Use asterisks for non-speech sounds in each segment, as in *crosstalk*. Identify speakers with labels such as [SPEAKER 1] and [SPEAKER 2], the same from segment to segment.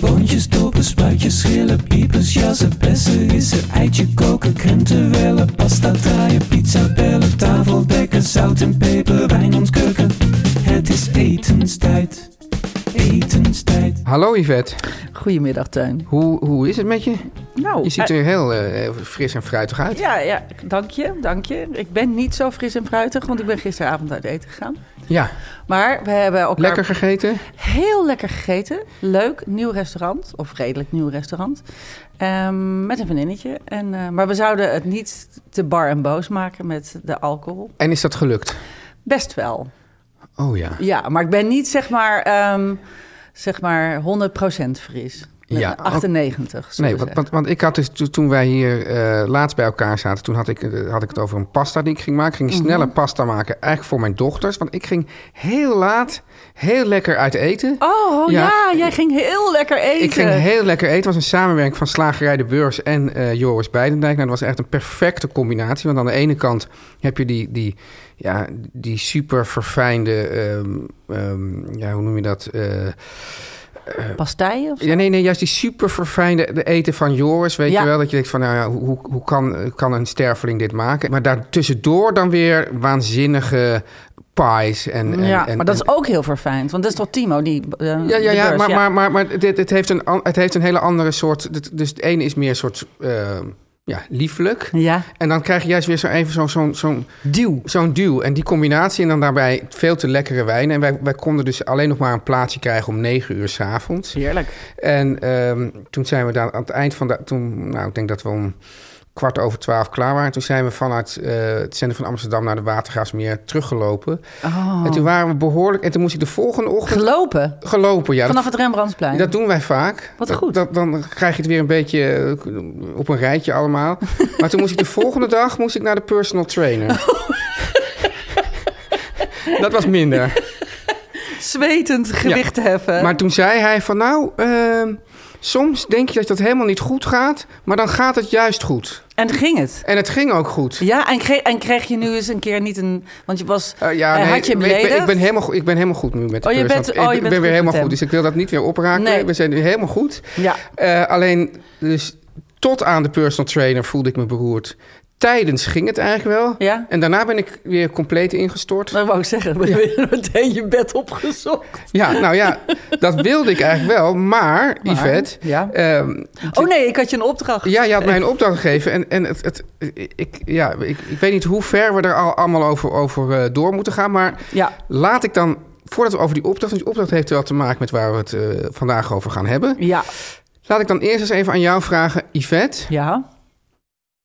[SPEAKER 1] Boontjes, dopen, spuitjes, schillen, piepers, jassen, bessen, rissen, eitje koken, krenten wellen, pasta draaien, pizza bellen, tafel dekken, zout en peper, wijn ontkurken. Het is etenstijd, etenstijd.
[SPEAKER 2] Hallo Yvette,
[SPEAKER 3] Goedemiddag, Tuin.
[SPEAKER 2] hoe, hoe is het met je?
[SPEAKER 3] Nou,
[SPEAKER 2] Je ziet
[SPEAKER 3] eh,
[SPEAKER 2] er heel eh, fris en fruitig uit.
[SPEAKER 3] ja, ja, dank je, dank je. Ik ben niet zo fris en fruitig, want ik ben gisteravond uit eten gegaan.
[SPEAKER 2] Ja,
[SPEAKER 3] Maar we hebben elkaar
[SPEAKER 2] lekker gegeten.
[SPEAKER 3] heel lekker gegeten. Leuk, nieuw restaurant, of redelijk nieuw restaurant. Ehm, met een vriendinnetje. En, eh, maar we zouden het niet te bar en boos maken met de alcohol.
[SPEAKER 2] En is dat gelukt?
[SPEAKER 3] Best wel,
[SPEAKER 2] Oh ja.
[SPEAKER 3] ja. Maar ik ben niet, zeg maar, ehm, zeg maar 100% fris. Met
[SPEAKER 2] Ja,
[SPEAKER 3] een 98. zullen
[SPEAKER 2] Nee,
[SPEAKER 3] we
[SPEAKER 2] want,
[SPEAKER 3] zeggen.
[SPEAKER 2] want, want ik had dus to- toen wij hier eh, laatst bij elkaar zaten, toen had ik, eh, had ik het over een pasta die ik ging maken. Ik
[SPEAKER 3] Mhm.
[SPEAKER 2] ging snelle pasta maken, eigenlijk voor mijn dochters. Want ik ging heel laat, heel lekker uit eten.
[SPEAKER 3] Oh,
[SPEAKER 2] Ja.
[SPEAKER 3] ja. jij ging heel lekker eten.
[SPEAKER 2] Ik ging heel lekker eten. Het was een samenwerking van Slagerij de Beurs en eh, Joris Beidendijk. Nou, dat was echt een perfecte combinatie. Want aan de ene kant heb je die, die, ja, die super verfijnde... ehm, ehm, ja, hoe noem je dat? Eh,
[SPEAKER 3] Pastijen of zo?
[SPEAKER 2] ja, nee, nee, juist die super verfijnde de eten van Joris. Weet
[SPEAKER 3] Ja.
[SPEAKER 2] je wel? Dat je denkt van, nou ja, hoe, hoe kan, hoe kan een sterfeling dit maken? Maar daartussendoor dan weer waanzinnige pies. En, en,
[SPEAKER 3] ja,
[SPEAKER 2] en-
[SPEAKER 3] maar dat is ook heel verfijnd. Want dat is toch Timo die. eh,
[SPEAKER 2] Ja, ja,
[SPEAKER 3] de
[SPEAKER 2] ja,
[SPEAKER 3] beurs,
[SPEAKER 2] maar, maar, maar, maar dit, het, heeft een, an- het heeft een hele andere soort. dit- dus het ene is meer een soort eh, ja, liefelijk.
[SPEAKER 3] Ja,
[SPEAKER 2] En dan krijg je juist weer zo even zo'n zo'n zo'n
[SPEAKER 3] duw.
[SPEAKER 2] zo'n duw. En die combinatie en dan daarbij veel te lekkere wijn. En wij, wij konden dus alleen nog maar een plaatsje krijgen om negen uur s'avonds.
[SPEAKER 3] Heerlijk.
[SPEAKER 2] En ehm, toen zijn we daar aan het eind van de. Toen, nou, ik denk dat we om kwart over twaalf klaar waren. Toen zijn we vanuit eh, het centrum van Amsterdam naar de Watergaasmeer teruggelopen. En toen waren we behoorlijk. En toen moest ik de volgende ochtend
[SPEAKER 3] Oh, Gelopen
[SPEAKER 2] gelopen. Ah. Ja, dat
[SPEAKER 3] Oh. vanaf het Rembrandtsplein.
[SPEAKER 2] dat doen wij vaak.
[SPEAKER 3] Wat
[SPEAKER 2] Dat-
[SPEAKER 3] goed.
[SPEAKER 2] Dat, dan krijg je het weer een beetje eh, op een rijtje
[SPEAKER 3] *laughs*
[SPEAKER 2] allemaal. Maar toen moest ik de volgende dag moest ik naar de personal trainer.
[SPEAKER 3] Oh.
[SPEAKER 2] *laughs* Dat was minder.
[SPEAKER 3] Zwetend gewicht heffen.
[SPEAKER 2] Maar toen zei hij van nou, ehm, soms denk je dat dat helemaal niet goed gaat, maar dan gaat het juist goed.
[SPEAKER 3] En ging het?
[SPEAKER 2] En het ging ook goed.
[SPEAKER 3] Ja, en kreeg, en kreeg je nu eens een keer niet een. Want je was.
[SPEAKER 2] Eh, ja,
[SPEAKER 3] eh,
[SPEAKER 2] nee,
[SPEAKER 3] had je
[SPEAKER 2] ik, ben- ik ben, ik,
[SPEAKER 3] beledigd?
[SPEAKER 2] ben helemaal, go- ik ben helemaal goed nu met de
[SPEAKER 3] Oh, je
[SPEAKER 2] personal
[SPEAKER 3] bent-
[SPEAKER 2] trainer.
[SPEAKER 3] oh, je
[SPEAKER 2] ik ben
[SPEAKER 3] bent
[SPEAKER 2] weer
[SPEAKER 3] goed
[SPEAKER 2] helemaal
[SPEAKER 3] met
[SPEAKER 2] goed,
[SPEAKER 3] hem.
[SPEAKER 2] dus ik wil dat niet weer opraken.
[SPEAKER 3] Nee.
[SPEAKER 2] We zijn nu helemaal goed.
[SPEAKER 3] Ja.
[SPEAKER 2] Eh, alleen, dus tot aan de personal trainer voelde ik me beroerd. Tijdens ging het eigenlijk wel.
[SPEAKER 3] Ja.
[SPEAKER 2] En daarna ben ik weer compleet ingestort.
[SPEAKER 3] Dat wou ik zeggen. *laughs* We hebben meteen je bed opgezocht.
[SPEAKER 2] Ja, nou ja, dat wilde ik eigenlijk wel. Maar,
[SPEAKER 3] Maar,
[SPEAKER 2] Yvette...
[SPEAKER 3] Ah, ja.
[SPEAKER 2] ehm,
[SPEAKER 3] Oh nee, ik had je een opdracht.
[SPEAKER 2] ja, je had mij een opdracht gegeven. En, en het, het, ik, ja, ik, ik weet niet hoe ver we er al, allemaal over, over eh, door moeten gaan. Maar
[SPEAKER 3] Ja.
[SPEAKER 2] laat ik dan, voordat we over die opdracht... want die opdracht heeft wel te maken met waar we het eh, vandaag over gaan hebben.
[SPEAKER 3] Ja.
[SPEAKER 2] Laat ik dan eerst eens even aan jou vragen, Yvette.
[SPEAKER 3] ja.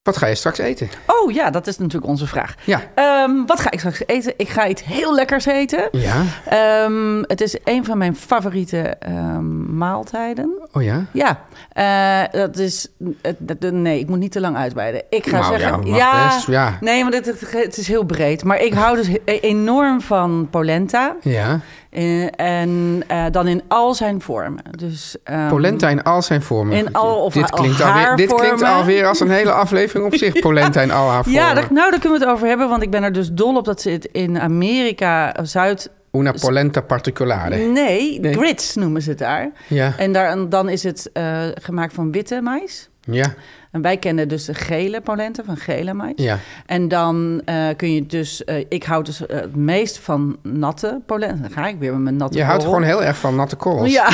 [SPEAKER 2] Wat ga je straks eten?
[SPEAKER 3] Oh ja, dat is natuurlijk onze vraag.
[SPEAKER 2] Ja.
[SPEAKER 3] Ehm, wat ga ik straks eten? Ik ga iets heel lekkers eten.
[SPEAKER 2] Ja,
[SPEAKER 3] Ehm, het is een van mijn favoriete ehm, maaltijden.
[SPEAKER 2] oh ja.
[SPEAKER 3] Ja, eh, dat is. het- het- nee, ik moet niet te lang uitweiden. Ik ga
[SPEAKER 2] Nou ja,
[SPEAKER 3] zeggen.
[SPEAKER 2] mag best, ja.
[SPEAKER 3] Nee, want het, het, het is heel breed. Maar ik hou dus he- enorm van polenta.
[SPEAKER 2] Ja,
[SPEAKER 3] Eh, en eh, dan in al zijn vormen. Dus, ehm,
[SPEAKER 2] polenta in al zijn vormen.
[SPEAKER 3] in al- of
[SPEAKER 2] dit
[SPEAKER 3] al
[SPEAKER 2] klinkt, alweer, dit klinkt
[SPEAKER 3] haarvormen.
[SPEAKER 2] alweer als een hele aflevering
[SPEAKER 3] *laughs*
[SPEAKER 2] op zich, polenta in al haar vormen.
[SPEAKER 3] Ja, daar- nou, daar kunnen we het over hebben. Want ik ben er dus dol op dat ze het in Amerika, eh, Zuid.
[SPEAKER 2] Una polenta particulare.
[SPEAKER 3] Nee,
[SPEAKER 2] Ah, Nee.
[SPEAKER 3] grits noemen ze het daar.
[SPEAKER 2] Ja,
[SPEAKER 3] En daar, dan is het eh, gemaakt van witte mais.
[SPEAKER 2] ja.
[SPEAKER 3] Eh, En wij kennen dus de gele polenta van gele maïs.
[SPEAKER 2] Ja.
[SPEAKER 3] En dan eh, kun je dus... eh, ik houd dus eh, het meest van natte polenta. Dan ga ik weer met mijn natte
[SPEAKER 2] Je houdt
[SPEAKER 3] korrel.
[SPEAKER 2] gewoon heel erg van natte korrels.
[SPEAKER 3] Ja.
[SPEAKER 2] *laughs*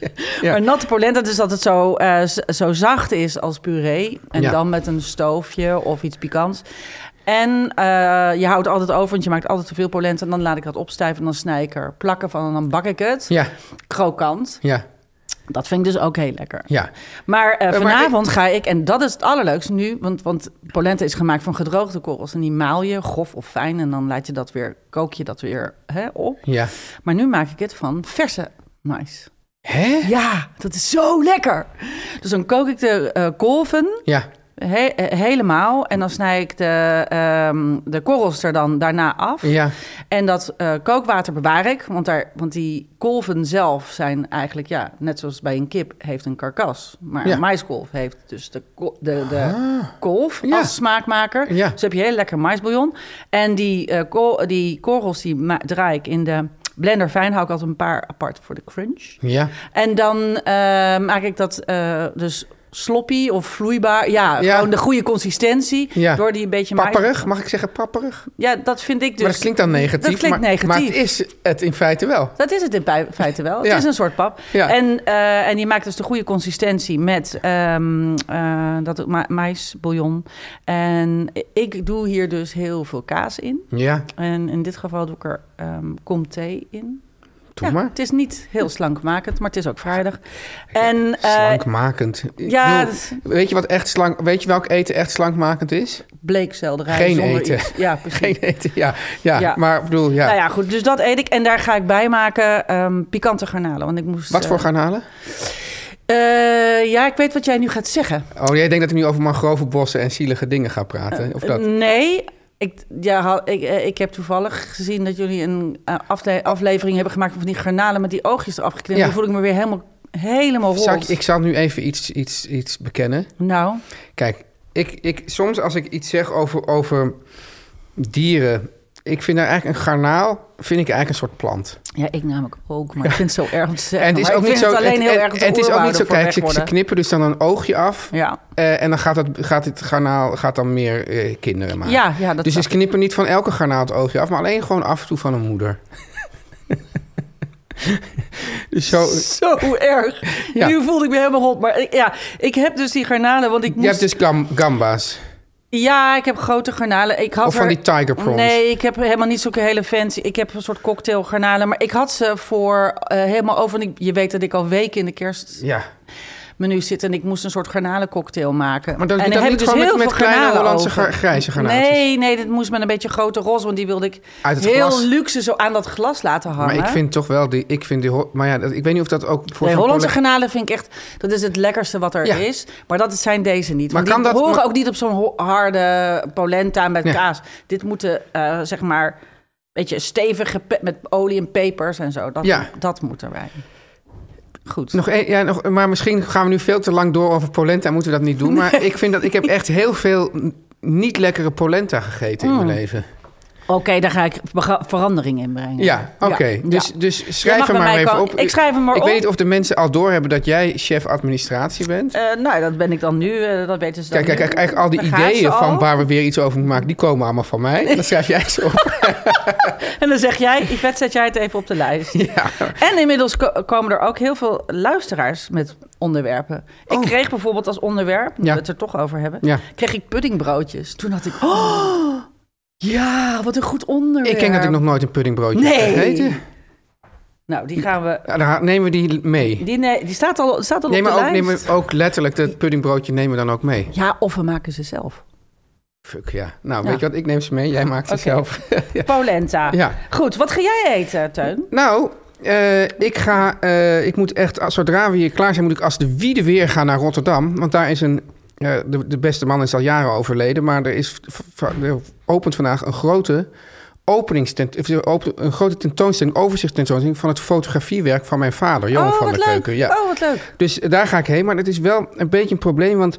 [SPEAKER 3] *laughs*
[SPEAKER 2] Ja.
[SPEAKER 3] Maar natte polenta, dus dat het zo, eh, z- zo zacht is als puree. En
[SPEAKER 2] Ja.
[SPEAKER 3] dan met een stoofje of iets pikants. En eh, je houdt altijd over, want je maakt altijd te veel polenta. En dan laat ik dat opstijven en dan snij ik er plakken van en dan bak ik het.
[SPEAKER 2] Ja,
[SPEAKER 3] Krokant.
[SPEAKER 2] ja,
[SPEAKER 3] Dat vind ik dus ook heel lekker.
[SPEAKER 2] ja.
[SPEAKER 3] Maar eh,
[SPEAKER 2] maar
[SPEAKER 3] vanavond ga ik, en dat is het allerleukste nu, want, want polenta is gemaakt van gedroogde korrels. En die maal je grof of fijn en dan laat je dat weer, kook je dat weer hè, op.
[SPEAKER 2] ja.
[SPEAKER 3] Maar nu maak ik het van verse mais.
[SPEAKER 2] Hè?
[SPEAKER 3] Ja, dat is zo lekker. Dus dan kook ik de eh, kolven
[SPEAKER 2] Ja,
[SPEAKER 3] he- eh, helemaal. En dan snij ik de, ehm, de korrels er dan daarna af.
[SPEAKER 2] ja,
[SPEAKER 3] En dat eh, kookwater bewaar ik. Want, daar, want die kolven zelf zijn eigenlijk, ja, net zoals bij een kip, heeft een karkas. Maar
[SPEAKER 2] Ja. Ah.
[SPEAKER 3] een maiskolf heeft dus de, ko- de, de kolf
[SPEAKER 2] Ja.
[SPEAKER 3] als smaakmaker.
[SPEAKER 2] Ja.
[SPEAKER 3] Dus heb je heel lekker maisbouillon. En die, eh, ko- die korrels die ma- draai ik in de blender fijn. Hou ik altijd een paar apart voor de crunch.
[SPEAKER 2] ja.
[SPEAKER 3] En dan eh, maak ik dat eh, dus sloppy of vloeibaar. Ja,
[SPEAKER 2] Ja.
[SPEAKER 3] gewoon de goede consistentie.
[SPEAKER 2] Ja.
[SPEAKER 3] Door die een beetje mais-
[SPEAKER 2] Papperig, mag ik zeggen papperig?
[SPEAKER 3] Ja, dat vind ik dus.
[SPEAKER 2] maar dat klinkt dan negatief.
[SPEAKER 3] Dat klinkt
[SPEAKER 2] maar,
[SPEAKER 3] negatief.
[SPEAKER 2] Maar het is het in feite wel.
[SPEAKER 3] Dat is het in pij- feite wel. Het
[SPEAKER 2] Ja.
[SPEAKER 3] is een soort pap.
[SPEAKER 2] Ja.
[SPEAKER 3] En, eh, en je maakt dus de goede consistentie met ehm eh dat ma maïsbouillon. En ik doe hier dus heel veel kaas in.
[SPEAKER 2] Ja,
[SPEAKER 3] En in dit geval doe ik er ehm comté in.
[SPEAKER 2] doe
[SPEAKER 3] Ja,
[SPEAKER 2] maar.
[SPEAKER 3] Het is niet heel slankmakend, maar het is ook vrijdag. En eh,
[SPEAKER 2] Slankmakend. Ik
[SPEAKER 3] ja,
[SPEAKER 2] bedoel,
[SPEAKER 3] dat-
[SPEAKER 2] weet, je wat echt slank, weet je welk eten echt slankmakend is?
[SPEAKER 3] bleekselderij
[SPEAKER 2] Geen
[SPEAKER 3] zonder
[SPEAKER 2] eten.
[SPEAKER 3] iets. Ja, precies.
[SPEAKER 2] *laughs* Geen eten, ja. Ja,
[SPEAKER 3] Ja.
[SPEAKER 2] maar ik bedoel, ja.
[SPEAKER 3] Nou ja, goed. Dus dat eet ik. En daar ga ik bij maken ehm, pikante garnalen. Want ik moest...
[SPEAKER 2] Wat voor
[SPEAKER 3] eh,
[SPEAKER 2] garnalen?
[SPEAKER 3] eh, ja, ik weet wat jij nu gaat zeggen.
[SPEAKER 2] Oh, jij denkt dat ik nu over mangrovenbossen en zielige dingen ga praten?
[SPEAKER 3] Eh,
[SPEAKER 2] Of dat?
[SPEAKER 3] Nee. Ik, ja, ha- ik, eh, ik heb toevallig gezien dat jullie een eh, afle- aflevering hebben gemaakt van die garnalen met die oogjes eraf geknipt.
[SPEAKER 2] Ja.
[SPEAKER 3] Dan voel ik me weer helemaal, helemaal
[SPEAKER 2] Zal ik,
[SPEAKER 3] rond.
[SPEAKER 2] ik zal nu even iets, iets, iets bekennen.
[SPEAKER 3] Nou,
[SPEAKER 2] Kijk, ik, ik, soms als ik iets zeg over, over dieren... Ik vind daar eigenlijk een garnaal, vind ik eigenlijk een soort plant.
[SPEAKER 3] ja, ik namelijk ook, maar ik vind het zo erg om te zeggen.
[SPEAKER 2] en het is
[SPEAKER 3] Maar
[SPEAKER 2] ook
[SPEAKER 3] ik
[SPEAKER 2] niet
[SPEAKER 3] vind
[SPEAKER 2] zo.
[SPEAKER 3] het alleen
[SPEAKER 2] het-
[SPEAKER 3] heel
[SPEAKER 2] en-
[SPEAKER 3] erg dat de
[SPEAKER 2] en het is ook niet
[SPEAKER 3] oerwouden
[SPEAKER 2] zo.
[SPEAKER 3] ervoor
[SPEAKER 2] Kijk,
[SPEAKER 3] weg
[SPEAKER 2] ze, ze
[SPEAKER 3] worden.
[SPEAKER 2] knippen dus dan een oogje af.
[SPEAKER 3] Ja.
[SPEAKER 2] Eh, en dan gaat, dat, gaat dit garnaal gaat dan meer eh, kinderen maken.
[SPEAKER 3] Ja, ja, dat
[SPEAKER 2] dus
[SPEAKER 3] snap
[SPEAKER 2] ze knippen niet van elke garnaal het oogje af, maar alleen gewoon af en toe van een moeder. *laughs* dus zo.
[SPEAKER 3] Zo erg.
[SPEAKER 2] Ja.
[SPEAKER 3] Nu voelde ik me helemaal rond. Maar ik- ja, ik heb dus die garnalen, want ik
[SPEAKER 2] Je hebt
[SPEAKER 3] moest...
[SPEAKER 2] dus gam- gamba's.
[SPEAKER 3] Ja, ik heb grote garnalen. Ik had
[SPEAKER 2] Of van
[SPEAKER 3] er-
[SPEAKER 2] die tiger prawns.
[SPEAKER 3] Nee, ik heb helemaal niet zulke hele fancy. Ik heb een soort cocktail garnalen. Maar ik had ze voor eh, helemaal over. En ik- je weet dat ik al weken in de kerstmenu
[SPEAKER 2] Ja.
[SPEAKER 3] zit. En ik moest een soort garnalencocktail maken.
[SPEAKER 2] Maar dat,
[SPEAKER 3] en
[SPEAKER 2] dat
[SPEAKER 3] dan heb
[SPEAKER 2] niet
[SPEAKER 3] ik dus
[SPEAKER 2] gewoon
[SPEAKER 3] heel
[SPEAKER 2] met, met
[SPEAKER 3] veel
[SPEAKER 2] kleine
[SPEAKER 3] garnalen
[SPEAKER 2] Hollandse
[SPEAKER 3] over.
[SPEAKER 2] gra- grijze garnaaltjes.
[SPEAKER 3] Nee, nee, dit moest met een beetje grote roze. Want die wilde ik
[SPEAKER 2] Uit het
[SPEAKER 3] heel
[SPEAKER 2] glas.
[SPEAKER 3] luxe zo aan dat glas laten
[SPEAKER 2] Maar
[SPEAKER 3] hangen.
[SPEAKER 2] ik vind toch wel die. Ik vind die Ho- maar ja, dat- ik weet niet of dat ook voor.
[SPEAKER 3] Nee,
[SPEAKER 2] zo'n
[SPEAKER 3] Hollandse
[SPEAKER 2] collega-
[SPEAKER 3] garnalen vind ik echt... Dat is het lekkerste wat er
[SPEAKER 2] Ja.
[SPEAKER 3] is. Maar dat zijn deze niet.
[SPEAKER 2] Maar
[SPEAKER 3] Maar
[SPEAKER 2] kan
[SPEAKER 3] die
[SPEAKER 2] dat-
[SPEAKER 3] horen
[SPEAKER 2] maar-
[SPEAKER 3] ook niet op zo'n ho- harde polenta met
[SPEAKER 2] Nee.
[SPEAKER 3] kaas. Dit moeten, eh, zeg maar... Weet je, stevig gepe- met olie en pepers en zo. Dat,
[SPEAKER 2] Ja.
[SPEAKER 3] dat moet erbij. Goed.
[SPEAKER 2] Nog één, ja, nog, maar misschien gaan we nu veel te lang door over polenta. Moeten we dat niet doen? Maar ik vind dat ik heb echt heel veel n- niet lekkere polenta gegeten
[SPEAKER 3] Mm.
[SPEAKER 2] in mijn leven.
[SPEAKER 3] Oké, daar ga ik bega- verandering in brengen.
[SPEAKER 2] Ja, oké.
[SPEAKER 3] ja.
[SPEAKER 2] Dus, dus schrijf
[SPEAKER 3] mag
[SPEAKER 2] hem
[SPEAKER 3] bij
[SPEAKER 2] maar
[SPEAKER 3] mij
[SPEAKER 2] even
[SPEAKER 3] komen.
[SPEAKER 2] op.
[SPEAKER 3] Ik schrijf hem maar
[SPEAKER 2] Ik
[SPEAKER 3] op.
[SPEAKER 2] weet niet of de mensen al doorhebben dat jij chef administratie bent.
[SPEAKER 3] Eh, nou, dat ben ik dan nu. eh, dat weten ze dan
[SPEAKER 2] Kijk, kijk,
[SPEAKER 3] nu.
[SPEAKER 2] kijk, eigenlijk al die
[SPEAKER 3] Daar gaat ze
[SPEAKER 2] ideeën van
[SPEAKER 3] al.
[SPEAKER 2] waar we weer iets over moeten maken, die komen allemaal van mij. Dan schrijf jij ze op.
[SPEAKER 3] En dan zeg jij, Yvette, zet jij het even op de lijst.
[SPEAKER 2] *laughs* Ja.
[SPEAKER 3] En inmiddels ko- komen er ook heel veel luisteraars met onderwerpen. Ik kreeg bijvoorbeeld als onderwerp, nu
[SPEAKER 2] Oh. Ja.
[SPEAKER 3] we het er toch over hebben,
[SPEAKER 2] Ja.
[SPEAKER 3] kreeg ik puddingbroodjes. Toen had ik, oh, ja, wat een goed onderwerp.
[SPEAKER 2] Ik denk dat ik nog nooit een puddingbroodje
[SPEAKER 3] Nee.
[SPEAKER 2] heb gegeten.
[SPEAKER 3] Nou, die gaan we,
[SPEAKER 2] Ja, dan ha- nemen we die mee.
[SPEAKER 3] die, nee, die staat al, staat al
[SPEAKER 2] Nee,
[SPEAKER 3] op
[SPEAKER 2] maar
[SPEAKER 3] de
[SPEAKER 2] ook,
[SPEAKER 3] lijst.
[SPEAKER 2] nemen we ook letterlijk dat puddingbroodje nemen we dan ook mee.
[SPEAKER 3] Ja, of we maken ze zelf.
[SPEAKER 2] Fuck, ja. Nou,
[SPEAKER 3] Ja.
[SPEAKER 2] weet je wat? Ik neem ze mee. Jij maakt ze
[SPEAKER 3] Oké.
[SPEAKER 2] zelf. *laughs* ja.
[SPEAKER 3] Polenta.
[SPEAKER 2] Ja.
[SPEAKER 3] Goed, wat ga jij eten, Teun?
[SPEAKER 2] Nou, eh, ik ga. eh, ik moet echt. als- Zodra we hier klaar zijn, moet ik als de wiede weer gaan naar Rotterdam. Want daar is een. eh, de, de beste man is al jaren overleden. Maar er, is, v- v- er opent vandaag een grote. Openingstent, of er opent een grote tentoonstelling, overzichtstentoonstelling van het fotografiewerk van mijn vader, Johan
[SPEAKER 3] oh,
[SPEAKER 2] van
[SPEAKER 3] wat
[SPEAKER 2] der
[SPEAKER 3] leuk.
[SPEAKER 2] Keuken. Ja.
[SPEAKER 3] Oh, wat leuk.
[SPEAKER 2] Dus daar ga ik heen. Maar het is wel een beetje een probleem, want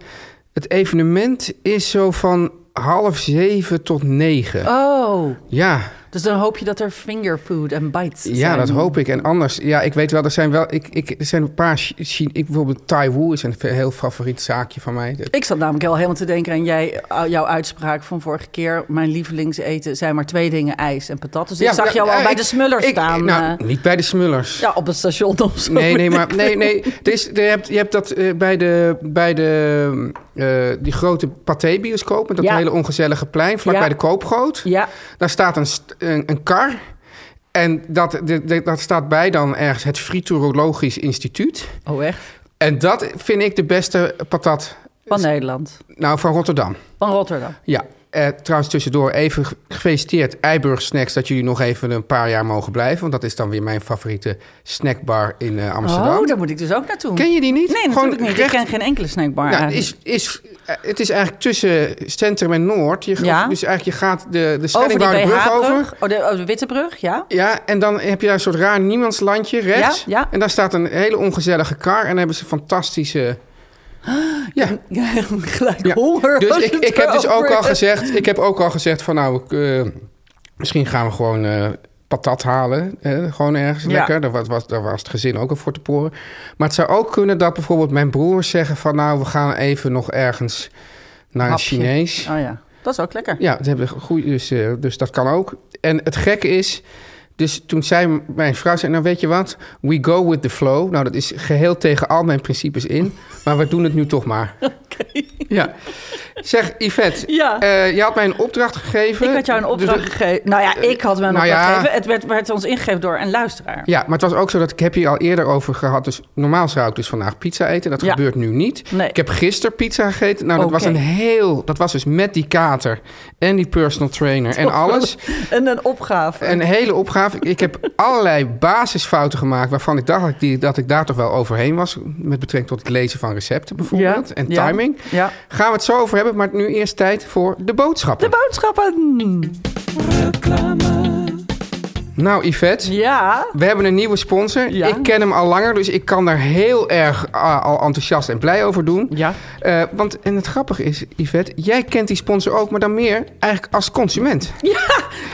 [SPEAKER 2] het evenement is zo van half zeven tot negen.
[SPEAKER 3] Oh,
[SPEAKER 2] Ja,
[SPEAKER 3] dus Dus dan hoop je dat er fingerfood en bites zijn.
[SPEAKER 2] Ja, dat hoop ik. En anders, ja, ik weet wel, er zijn wel, ik, ik, er zijn een paar, Chi- Chi- ik, bijvoorbeeld Tai Wu is een heel favoriet zaakje van mij. Dat-
[SPEAKER 3] Ik zat namelijk al helemaal te denken aan jij, eh, jouw uitspraak van vorige keer. Mijn lievelingseten zijn maar twee dingen, ijs en patat. Dus ik
[SPEAKER 2] Ja,
[SPEAKER 3] zag
[SPEAKER 2] ja,
[SPEAKER 3] jou al
[SPEAKER 2] ja,
[SPEAKER 3] bij
[SPEAKER 2] ik-
[SPEAKER 3] de smuller
[SPEAKER 2] ik-
[SPEAKER 3] staan.
[SPEAKER 2] nou,
[SPEAKER 3] eh,
[SPEAKER 2] niet bij de smullers.
[SPEAKER 3] ja, op het station of zo.
[SPEAKER 2] Nee, nee, maar nee, nee. Er is, er, je, hebt, je hebt dat eh, bij de, bij de eh, die grote pathé-bioscoop... met dat
[SPEAKER 3] Ja.
[SPEAKER 2] hele ongezellige plein, vlak
[SPEAKER 3] Ja.
[SPEAKER 2] bij de Koopgoot.
[SPEAKER 3] *laughs* Ja,
[SPEAKER 2] Daar staat een, st- een, een kar. En dat, de- de- dat staat bij dan ergens het Friturologisch Instituut.
[SPEAKER 3] oh echt?
[SPEAKER 2] En dat vind ik de beste patat
[SPEAKER 3] Van Nederland.
[SPEAKER 2] nou, van Rotterdam.
[SPEAKER 3] Van Rotterdam.
[SPEAKER 2] Ja, eh, trouwens tussendoor even ge- gefeliciteerd Eiburg Snacks... dat jullie nog even een paar jaar mogen blijven. Want dat is dan weer mijn favoriete snackbar in eh, Amsterdam.
[SPEAKER 3] Oh, daar moet ik dus ook naartoe.
[SPEAKER 2] Ken je die niet?
[SPEAKER 3] Nee,
[SPEAKER 2] Gewoon
[SPEAKER 3] natuurlijk niet.
[SPEAKER 2] recht-
[SPEAKER 3] Ik ken geen enkele snackbar.
[SPEAKER 2] Ja,
[SPEAKER 3] eigenlijk.
[SPEAKER 2] is, is, eh, het is eigenlijk tussen Centrum en Noord. Je,
[SPEAKER 3] Ja.
[SPEAKER 2] Dus eigenlijk je gaat de, de
[SPEAKER 3] over die
[SPEAKER 2] Scheidingbouwde brug over.
[SPEAKER 3] Oh, de, oh, de Witte Brug, ja. *laughs*
[SPEAKER 2] Ja, en dan heb je daar een soort raar niemandslandje rechts.
[SPEAKER 3] Ja, ja.
[SPEAKER 2] En daar staat een hele ongezellige kar. En daar hebben ze fantastische...
[SPEAKER 3] Ah,
[SPEAKER 2] Ja,
[SPEAKER 3] Ja, gelijk
[SPEAKER 2] Ja.
[SPEAKER 3] *laughs* honger.
[SPEAKER 2] dus
[SPEAKER 3] als
[SPEAKER 2] ik,
[SPEAKER 3] het
[SPEAKER 2] ik heb dus ook
[SPEAKER 3] erover
[SPEAKER 2] al
[SPEAKER 3] is.
[SPEAKER 2] gezegd... Ik heb ook al gezegd van nou, ik, eh, misschien gaan we gewoon eh, patat halen. eh, gewoon ergens
[SPEAKER 3] Ja.
[SPEAKER 2] lekker. Daar was, was, daar was het gezin ook al voor te poren. Maar het zou ook kunnen dat bijvoorbeeld mijn broers zeggen van... nou, we gaan even nog ergens naar
[SPEAKER 3] Hapje.
[SPEAKER 2] een Chinees.
[SPEAKER 3] Oh ja, dat is ook lekker.
[SPEAKER 2] Ja, ze hebben goed, dus, eh, dus dat kan ook. En het gekke is, dus toen zei mijn vrouw, zei, nou weet je wat, we go with the flow. Nou, dat is geheel tegen al mijn principes in, maar we doen het nu toch
[SPEAKER 3] *laughs*
[SPEAKER 2] maar. Oké. Ja. Zeg, Yvette,
[SPEAKER 3] Ja.
[SPEAKER 2] eh, je had mij een opdracht gegeven.
[SPEAKER 3] Ik had jou een
[SPEAKER 2] Dus-
[SPEAKER 3] opdracht gegeven. Nou ja, ik had hem een
[SPEAKER 2] nou
[SPEAKER 3] opdracht
[SPEAKER 2] ja.
[SPEAKER 3] gegeven. Het werd, werd ons ingegeven door een luisteraar.
[SPEAKER 2] ja, maar het was ook zo dat ik heb hier al eerder over gehad. Dus normaal zou ik dus vandaag pizza eten. Dat
[SPEAKER 3] Ja.
[SPEAKER 2] gebeurt nu niet.
[SPEAKER 3] Nee.
[SPEAKER 2] Ik heb gisteren pizza gegeten. Nou, dat was
[SPEAKER 3] Oké.
[SPEAKER 2] een heel. Dat was dus met die kater en die personal trainer
[SPEAKER 3] *laughs*
[SPEAKER 2] en alles.
[SPEAKER 3] En een opgave.
[SPEAKER 2] Een hele opgave. Ik- Ik heb allerlei basisfouten gemaakt waarvan ik dacht dat ik, die, dat ik daar toch wel overheen was. Met betrekking tot het lezen van recepten bijvoorbeeld. En
[SPEAKER 3] Ja.
[SPEAKER 2] timing.
[SPEAKER 3] Ja.
[SPEAKER 2] Gaan we het zo over hebben, maar nu eerst tijd voor de boodschappen.
[SPEAKER 3] De boodschappen.
[SPEAKER 2] nou Yvette,
[SPEAKER 3] Ja.
[SPEAKER 2] we hebben een nieuwe sponsor.
[SPEAKER 3] Ja.
[SPEAKER 2] Ik ken hem al langer, dus ik kan daar heel erg ah, al enthousiast en blij over doen.
[SPEAKER 3] *laughs* Ja.
[SPEAKER 2] Eh, want, en het grappige is, Yvette, jij kent die sponsor ook, maar dan meer eigenlijk als consument.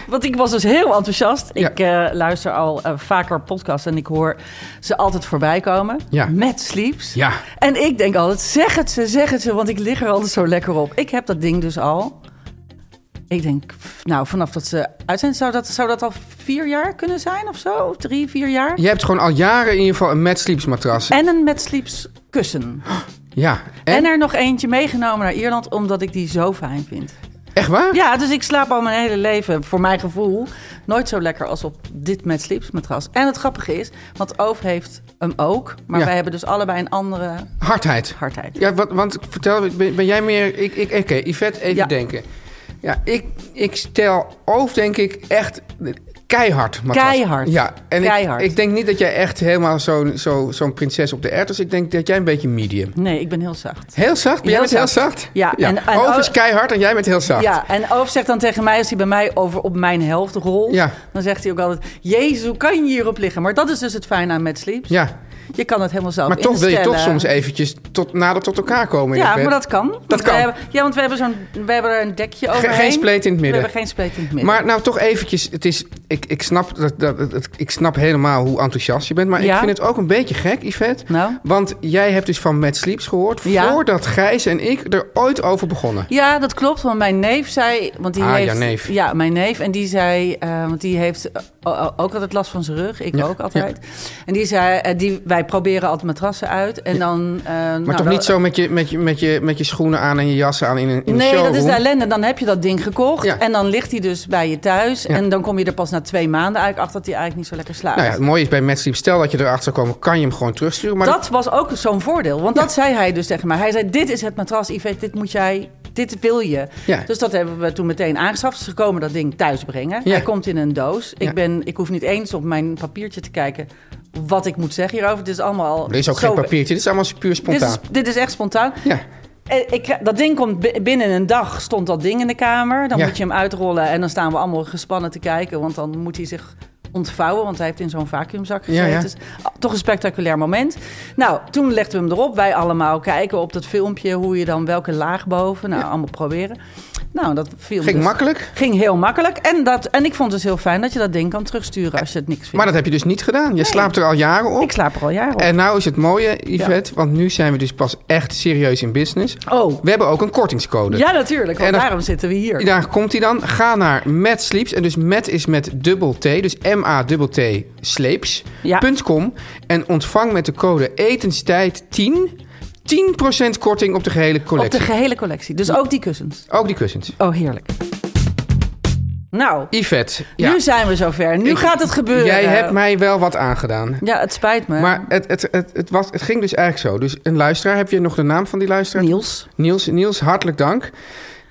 [SPEAKER 3] Want ik was dus heel enthousiast.
[SPEAKER 2] Ja.
[SPEAKER 3] Ik eh, luister al eh, vaker podcasts en ik hoor ze altijd voorbij komen.
[SPEAKER 2] Ja.
[SPEAKER 3] Met sleeps.
[SPEAKER 2] Ja.
[SPEAKER 3] En ik denk altijd, zeg het ze, zeg het ze, want ik lig er altijd zo lekker op. Ik heb dat ding dus al. Ik denk, pff, nou, vanaf dat ze uit zijn, zou dat, zou dat al vier jaar kunnen zijn of zo? Drie, vier jaar?
[SPEAKER 2] Je hebt gewoon al jaren in ieder geval een Mad Sleeps matras.
[SPEAKER 3] En een met sleeps kussen.
[SPEAKER 2] ja.
[SPEAKER 3] En?
[SPEAKER 2] En,
[SPEAKER 3] er nog eentje meegenomen naar Ierland, omdat ik die zo fijn vind.
[SPEAKER 2] echt waar?
[SPEAKER 3] Ja, dus ik slaap al mijn hele leven, voor mijn gevoel, nooit zo lekker als op dit met Sleeps matras. En het grappige is, want Oof heeft hem ook, maar
[SPEAKER 2] Ja.
[SPEAKER 3] wij hebben dus allebei een andere
[SPEAKER 2] Hardheid.
[SPEAKER 3] hardheid.
[SPEAKER 2] Ja, wat, want vertel, ben, ben jij meer... Ik, ik, Oké, Yvette, even
[SPEAKER 3] Ja.
[SPEAKER 2] denken. Ja, ik, ik stel over, denk ik, echt keihard. matras.
[SPEAKER 3] Keihard.
[SPEAKER 2] Ja, en ik-
[SPEAKER 3] Keihard.
[SPEAKER 2] Ik, denk niet dat jij echt helemaal zo'n zo, zo'n prinses op de erwt is. Ik denk dat jij een beetje medium.
[SPEAKER 3] Nee, ik ben heel zacht.
[SPEAKER 2] Heel zacht? Ben jij
[SPEAKER 3] Heel
[SPEAKER 2] bent heel
[SPEAKER 3] zacht.
[SPEAKER 2] zacht?
[SPEAKER 3] Ja, en- en
[SPEAKER 2] Oof
[SPEAKER 3] ook-
[SPEAKER 2] is keihard en jij bent heel zacht.
[SPEAKER 3] Ja, en Oof zegt dan tegen mij, als hij bij mij over op mijn helft rolt,
[SPEAKER 2] Ja.
[SPEAKER 3] dan zegt hij ook altijd, Jezus, hoe kan je hierop liggen? Maar dat is dus het fijne aan met Sleeps.
[SPEAKER 2] Ja,
[SPEAKER 3] Je kan het helemaal zelf
[SPEAKER 2] maar toch wil je toch
[SPEAKER 3] instellen.
[SPEAKER 2] soms eventjes tot, nader tot elkaar komen in
[SPEAKER 3] Ja,
[SPEAKER 2] het bed.
[SPEAKER 3] maar dat kan. Want
[SPEAKER 2] kan.
[SPEAKER 3] We hebben, ja, want we hebben, zo'n, we hebben er een dekje overheen.
[SPEAKER 2] geen spleet in het midden.
[SPEAKER 3] We hebben geen spleet in het midden.
[SPEAKER 2] Maar nou toch eventjes, het is, ik, ik, snap dat, dat, dat- ik snap helemaal hoe enthousiast je bent. Maar ik
[SPEAKER 3] Ja.
[SPEAKER 2] vind het ook een beetje gek, Yvette.
[SPEAKER 3] Nou?
[SPEAKER 2] Want jij hebt dus van Mad Sleeps gehoord...
[SPEAKER 3] Ja.
[SPEAKER 2] voordat Gijs en ik er ooit over begonnen.
[SPEAKER 3] Ja, dat klopt. Want mijn neef zei. Want die
[SPEAKER 2] Ah,
[SPEAKER 3] heeft,
[SPEAKER 2] jouw neef.
[SPEAKER 3] Ja, mijn neef. En die zei. eh, want die heeft eh, o- o- ook altijd last van zijn rug. Ik
[SPEAKER 2] Ja,
[SPEAKER 3] ook altijd. En die zei. eh, die, wij proberen altijd matrassen uit. En dan. eh,
[SPEAKER 2] Maar
[SPEAKER 3] nou,
[SPEAKER 2] toch
[SPEAKER 3] dan-
[SPEAKER 2] niet zo met je, met, je, met, je, met je schoenen aan en je jassen aan in een, in een
[SPEAKER 3] Nee, dat
[SPEAKER 2] showroom.
[SPEAKER 3] is de ellende. Dan heb je dat ding gekocht.
[SPEAKER 2] Ja.
[SPEAKER 3] En dan ligt hij dus bij je thuis.
[SPEAKER 2] Ja.
[SPEAKER 3] En dan kom je er pas na twee maanden eigenlijk achter dat hij eigenlijk niet zo lekker slaapt.
[SPEAKER 2] Nou ja, het mooie is bij Mad Sleeps, stel dat je erachter zou komen... kan je hem gewoon terugsturen. Maar
[SPEAKER 3] dat was ook zo'n voordeel. Want dat zei hij dus tegen mij. Hij zei, dit is het matras, Yvette. Dit moet jij... Dit wil je.
[SPEAKER 2] Ja.
[SPEAKER 3] Dus dat hebben we toen meteen aangeschaft. Ze komen dat ding thuis brengen.
[SPEAKER 2] Ja.
[SPEAKER 3] Hij komt in een doos.
[SPEAKER 2] Ja.
[SPEAKER 3] Ik, ben, ik hoef niet eens op mijn papiertje te kijken wat ik moet zeggen hierover. Dit is allemaal al
[SPEAKER 2] er is ook
[SPEAKER 3] zo-
[SPEAKER 2] geen papiertje, dit is allemaal puur
[SPEAKER 3] Dit
[SPEAKER 2] spontaan.
[SPEAKER 3] is, dit is echt spontaan.
[SPEAKER 2] Ja.
[SPEAKER 3] Eh, Ik, krijg- dat ding komt bi- binnen een dag, stond dat ding in de kamer. Dan
[SPEAKER 2] Ja.
[SPEAKER 3] moet je hem uitrollen en dan staan we allemaal gespannen te kijken. Want dan moet hij zich ontvouwen, want hij heeft in zo'n vacuümzak gezeten.
[SPEAKER 2] Ja, ja.
[SPEAKER 3] Dus, ah, toch een spectaculair moment. Nou, toen legden we hem erop. Wij allemaal kijken op dat filmpje hoe je dan welke laag boven. Nou, allemaal proberen. Nou, dat viel
[SPEAKER 2] Ging
[SPEAKER 3] dus-
[SPEAKER 2] makkelijk,
[SPEAKER 3] Ging heel makkelijk. En, dat, en ik vond het dus heel fijn dat je dat ding kan terugsturen als je het niks vindt.
[SPEAKER 2] maar dat heb je dus niet gedaan. Je slaapt er al jaren op.
[SPEAKER 3] Ik slaap er al jaren op.
[SPEAKER 2] En nou is het mooie, Yvette, want nu zijn we dus pas echt serieus in business.
[SPEAKER 3] oh,
[SPEAKER 2] We hebben ook een kortingscode.
[SPEAKER 3] ja natuurlijk. Want
[SPEAKER 2] En dat-
[SPEAKER 3] daarom zitten we hier.
[SPEAKER 2] Daar komt hij dan. Ga naar Matt Sleeps. En dus Matt is met dubbel T. Dus M-A-T-T
[SPEAKER 3] Ja.
[SPEAKER 2] sleeps.com. En ontvang met de code etenstijd 10 10% korting op de gehele
[SPEAKER 3] op de
[SPEAKER 2] collectie.
[SPEAKER 3] gehele collectie. Dus ook die kussens.
[SPEAKER 2] Ook die kussens.
[SPEAKER 3] Oh, heerlijk. Nou,
[SPEAKER 2] Yvette, ja,
[SPEAKER 3] nu zijn we zover. Nu
[SPEAKER 2] Ik-
[SPEAKER 3] gaat het gebeuren.
[SPEAKER 2] jij hebt mij wel wat aangedaan.
[SPEAKER 3] eh, Ja, het spijt me.
[SPEAKER 2] Maar het, het, het, het, was, het ging dus eigenlijk zo. Dus een luisteraar, heb je nog de naam van die luisteraar?
[SPEAKER 3] Niels.
[SPEAKER 2] Niels, Niels, hartelijk dank.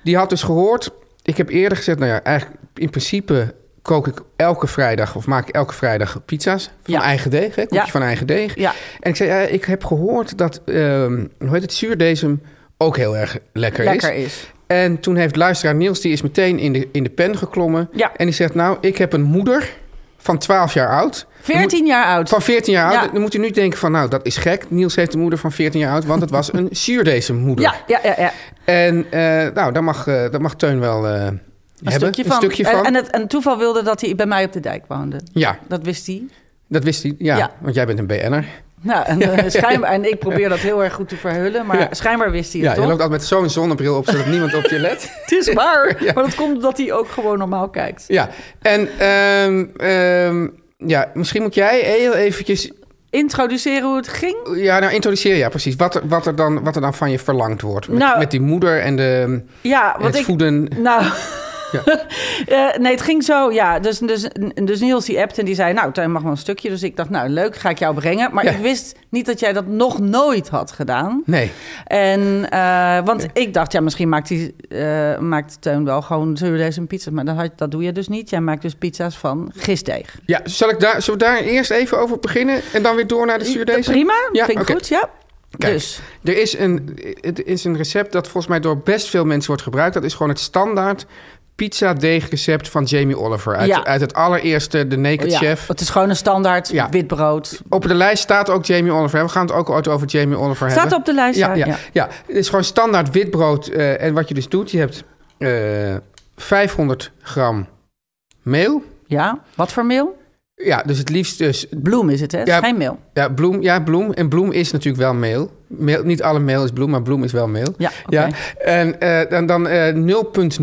[SPEAKER 2] Die had dus gehoord. Ik heb eerder gezegd, nou ja, eigenlijk in principe kook ik elke vrijdag of maak ik elke vrijdag pizza's van
[SPEAKER 3] Ja.
[SPEAKER 2] eigen deeg, hè, koekje
[SPEAKER 3] Ja.
[SPEAKER 2] van eigen deeg.
[SPEAKER 3] Ja.
[SPEAKER 2] En ik zei, ja, ik heb gehoord dat ehm hoe heet het zuurdesem ook heel erg lekker,
[SPEAKER 3] Lekker
[SPEAKER 2] is.
[SPEAKER 3] is.
[SPEAKER 2] En toen heeft luisteraar Niels die is meteen in de, in de pen geklommen
[SPEAKER 3] Ja.
[SPEAKER 2] en die zegt, nou, ik heb een moeder van 12 jaar oud.
[SPEAKER 3] 14 jaar oud.
[SPEAKER 2] Van 14 jaar
[SPEAKER 3] Ja.
[SPEAKER 2] oud. Dan moet u nu denken van, nou, dat is gek. Niels heeft een moeder van 14 jaar oud, want het was een *laughs* zuurdesemmoeder.
[SPEAKER 3] Ja, ja, ja. ja.
[SPEAKER 2] En eh, nou, daar mag, eh, daar mag Teun wel eh, hebben.
[SPEAKER 3] Een stukje van.
[SPEAKER 2] Een stukje
[SPEAKER 3] En,
[SPEAKER 2] van.
[SPEAKER 3] en, het, en toeval wilde dat hij bij mij op de dijk woonde.
[SPEAKER 2] Ja,
[SPEAKER 3] Dat wist hij.
[SPEAKER 2] dat wist hij. Ja,
[SPEAKER 3] Ja.
[SPEAKER 2] want jij bent een BN'er. *laughs*
[SPEAKER 3] Nou, en, eh, schijnbaar, en ik probeer dat heel erg goed te verhullen, maar
[SPEAKER 2] Ja.
[SPEAKER 3] schijnbaar wist hij
[SPEAKER 2] Ja,
[SPEAKER 3] het
[SPEAKER 2] je
[SPEAKER 3] toch?
[SPEAKER 2] loopt altijd met zo'n zonnebril op, zodat niemand op je let.
[SPEAKER 3] *laughs* Het
[SPEAKER 2] *laughs*
[SPEAKER 3] is waar, maar dat komt omdat hij ook gewoon normaal kijkt.
[SPEAKER 2] Ja, en ehm, ehm, ja, misschien moet jij heel eventjes...
[SPEAKER 3] Introduceren hoe het ging?
[SPEAKER 2] Ja, nou, introduceer ja, precies. Wat er, wat er, dan, wat er dan van je verlangd wordt. Met,
[SPEAKER 3] Nou,
[SPEAKER 2] met die moeder en, de,
[SPEAKER 3] Ja,
[SPEAKER 2] en het
[SPEAKER 3] want ik...
[SPEAKER 2] voeden.
[SPEAKER 3] Nou...
[SPEAKER 2] Ja.
[SPEAKER 3] *laughs* Eh, nee, het ging zo, ja. Dus, dus, dus Niels die appte en die zei... nou, Tuin mag wel een stukje. Dus ik dacht, nou, leuk, ga ik jou brengen. Maar
[SPEAKER 2] Ja.
[SPEAKER 3] ik wist niet dat jij dat nog nooit had gedaan.
[SPEAKER 2] Nee,
[SPEAKER 3] En, eh, want ik dacht, ja, misschien maakt, die, eh, maakt Teun wel gewoon zuurdees en pizza's. Maar dat, had- dat doe je dus niet. Jij maakt dus pizza's van gistdeeg.
[SPEAKER 2] ja, zal ik daar, zullen we daar eerst even over beginnen? En dan weer door naar de zuurdees?
[SPEAKER 3] Prima,
[SPEAKER 2] Ja,
[SPEAKER 3] vind ik
[SPEAKER 2] oké.
[SPEAKER 3] goed, ja.
[SPEAKER 2] Kijk.
[SPEAKER 3] Dus,
[SPEAKER 2] Er is, een, het is een recept dat volgens mij door best veel mensen wordt gebruikt. Dat is gewoon het standaard pizza deegrecept van Jamie Oliver. Uit,
[SPEAKER 3] Ja.
[SPEAKER 2] uit het allereerste The Naked
[SPEAKER 3] ja,
[SPEAKER 2] Chef.
[SPEAKER 3] het is gewoon een standaard
[SPEAKER 2] Ja.
[SPEAKER 3] wit brood.
[SPEAKER 2] Op de lijst staat ook Jamie Oliver. We gaan het ook ooit over Jamie Oliver hebben.
[SPEAKER 3] Staat op de lijst,
[SPEAKER 2] Ja, ja, ja.
[SPEAKER 3] ja.
[SPEAKER 2] het is gewoon standaard witbrood. eh, en wat je dus doet, je hebt eh, 500 gram meel.
[SPEAKER 3] Ja, wat voor meel?
[SPEAKER 2] Ja, dus het liefst dus...
[SPEAKER 3] Bloem is het, hè? Het is
[SPEAKER 2] Ja.
[SPEAKER 3] Geen meel.
[SPEAKER 2] Ja, bloem. Ja, bloem. En bloem is natuurlijk wel meel. meel niet alle meel is bloem, maar bloem is wel meel.
[SPEAKER 3] Ja, oké.
[SPEAKER 2] Ja, en eh, dan, dan eh,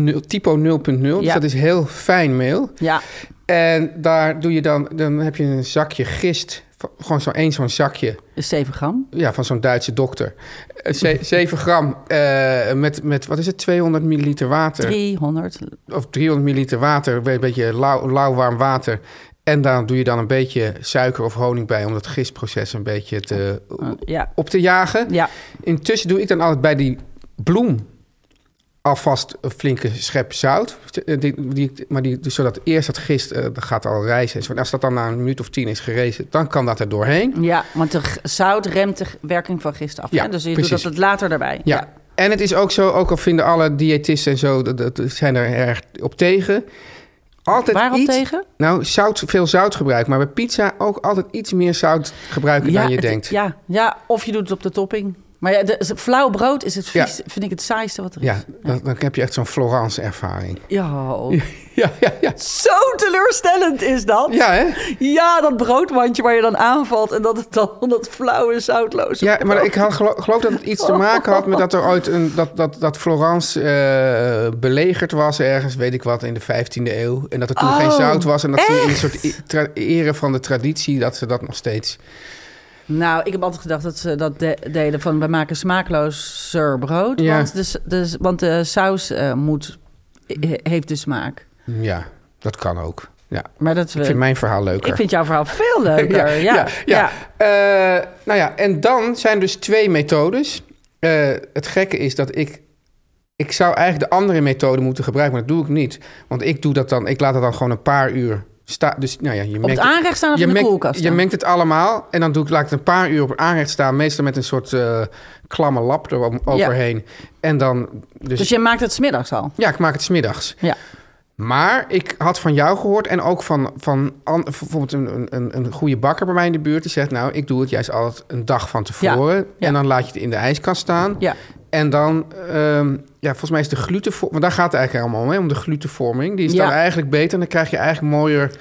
[SPEAKER 2] 0.0, typo 0.0, dus
[SPEAKER 3] Ja.
[SPEAKER 2] dat is heel fijn meel.
[SPEAKER 3] Ja.
[SPEAKER 2] En daar doe je dan, dan heb je een zakje gist, van- gewoon zo'n één zo'n zakje,
[SPEAKER 3] is 7 gram.
[SPEAKER 2] ja, van zo'n Duitse dokter. Eh,
[SPEAKER 3] *laughs*
[SPEAKER 2] ze- 7 gram eh, met, met, wat is het, 200 milliliter water?
[SPEAKER 3] 300.
[SPEAKER 2] Of 300 milliliter water, een beetje lauw, lauw warm water. En daar doe je dan een beetje suiker of honing bij om dat gistproces een beetje te,
[SPEAKER 3] Ja.
[SPEAKER 2] op te jagen.
[SPEAKER 3] Ja.
[SPEAKER 2] Intussen doe ik dan altijd bij die bloem alvast een flinke schep zout. Eh, Die, die, maar die, dus zodat eerst dat gist eh, dat gaat al rijzen. En zo. En als dat dan na een minuut of tien is gerezen, dan kan dat er doorheen.
[SPEAKER 3] ja, want de g- zout remt de g- werking van gist af.
[SPEAKER 2] Ja,
[SPEAKER 3] hè? Dus je
[SPEAKER 2] precies.
[SPEAKER 3] doet dat het later erbij.
[SPEAKER 2] Ja. En het is ook zo, ook al vinden alle diëtisten en zo, dat, dat zijn er erg op tegen. Altijd
[SPEAKER 3] Waarop
[SPEAKER 2] iets,
[SPEAKER 3] tegen?
[SPEAKER 2] Nou, zout, veel zout gebruiken. Maar bij pizza ook altijd iets meer zout gebruiken dan je
[SPEAKER 3] het-
[SPEAKER 2] denkt.
[SPEAKER 3] Ja, ja, of je doet het op de topping. Maar ja, de, z- flauw brood is het
[SPEAKER 2] Ja.
[SPEAKER 3] vies, vind ik het saaiste wat er
[SPEAKER 2] Ja,
[SPEAKER 3] is.
[SPEAKER 2] dan, dan heb je echt zo'n Florence-ervaring.
[SPEAKER 3] Ja.
[SPEAKER 2] *laughs* Ja, ja, ja.
[SPEAKER 3] Zo teleurstellend is dat.
[SPEAKER 2] Ja, hè?
[SPEAKER 3] Ja, dat broodmandje waar je dan aanvalt en dat het dan *laughs* dat flauwe zoutloze.
[SPEAKER 2] Ja, maar ik had gelo- geloof dat het iets te maken had met dat er ooit een, dat, dat, dat Florence eh, belegerd was ergens, weet ik wat, in de 15e eeuw. En dat er toen
[SPEAKER 3] Oh,
[SPEAKER 2] geen zout was. En dat ze in een
[SPEAKER 3] echt?
[SPEAKER 2] soort i- tra- ere van de traditie, dat ze dat nog steeds.
[SPEAKER 3] Nou, ik heb altijd gedacht dat ze dat de- deden van we maken smaaklozer brood,
[SPEAKER 2] Ja.
[SPEAKER 3] want, de, s- de, s- want de saus eh, moet he- heeft de smaak.
[SPEAKER 2] Ja, dat kan ook. Ja.
[SPEAKER 3] Maar dat we,
[SPEAKER 2] Ik vind mijn verhaal leuker.
[SPEAKER 3] ik vind jouw verhaal
[SPEAKER 2] *laughs*
[SPEAKER 3] veel leuker.
[SPEAKER 2] ja,
[SPEAKER 3] ja,
[SPEAKER 2] ja. Eh, nou ja, en dan zijn er dus twee methodes. Eh, het gekke is dat ik... Ik zou eigenlijk de andere methode moeten gebruiken, maar dat doe ik niet. Want ik doe dat dan... Ik laat het dan gewoon een paar uur staan. Dus nou ja, je
[SPEAKER 3] Op het aanrecht staan of
[SPEAKER 2] je
[SPEAKER 3] in de
[SPEAKER 2] mengt-
[SPEAKER 3] koelkast
[SPEAKER 2] Je
[SPEAKER 3] staan?
[SPEAKER 2] mengt het allemaal en dan doe ik, laat ik het een paar uur op het aanrecht staan. Meestal met een soort eh, klamme lap eroverheen. En dan... Dus,
[SPEAKER 3] Dus je maakt het smiddags al.
[SPEAKER 2] ja, ik maak het smiddags.
[SPEAKER 3] Ja.
[SPEAKER 2] Maar ik had van jou gehoord en ook van, van an- bijvoorbeeld een, een- een, een goede bakker bij mij in de buurt. Die zegt, nou, ik doe het juist altijd een dag van tevoren.
[SPEAKER 3] Ja, ja.
[SPEAKER 2] En dan laat je het in de ijskast staan.
[SPEAKER 3] Ja.
[SPEAKER 2] En dan, ehm, ja, volgens mij is de glutenvorming... Want daar gaat het eigenlijk allemaal om, hè, om de glutenvorming. Die is
[SPEAKER 3] Ja.
[SPEAKER 2] dan eigenlijk beter en dan krijg je eigenlijk mooier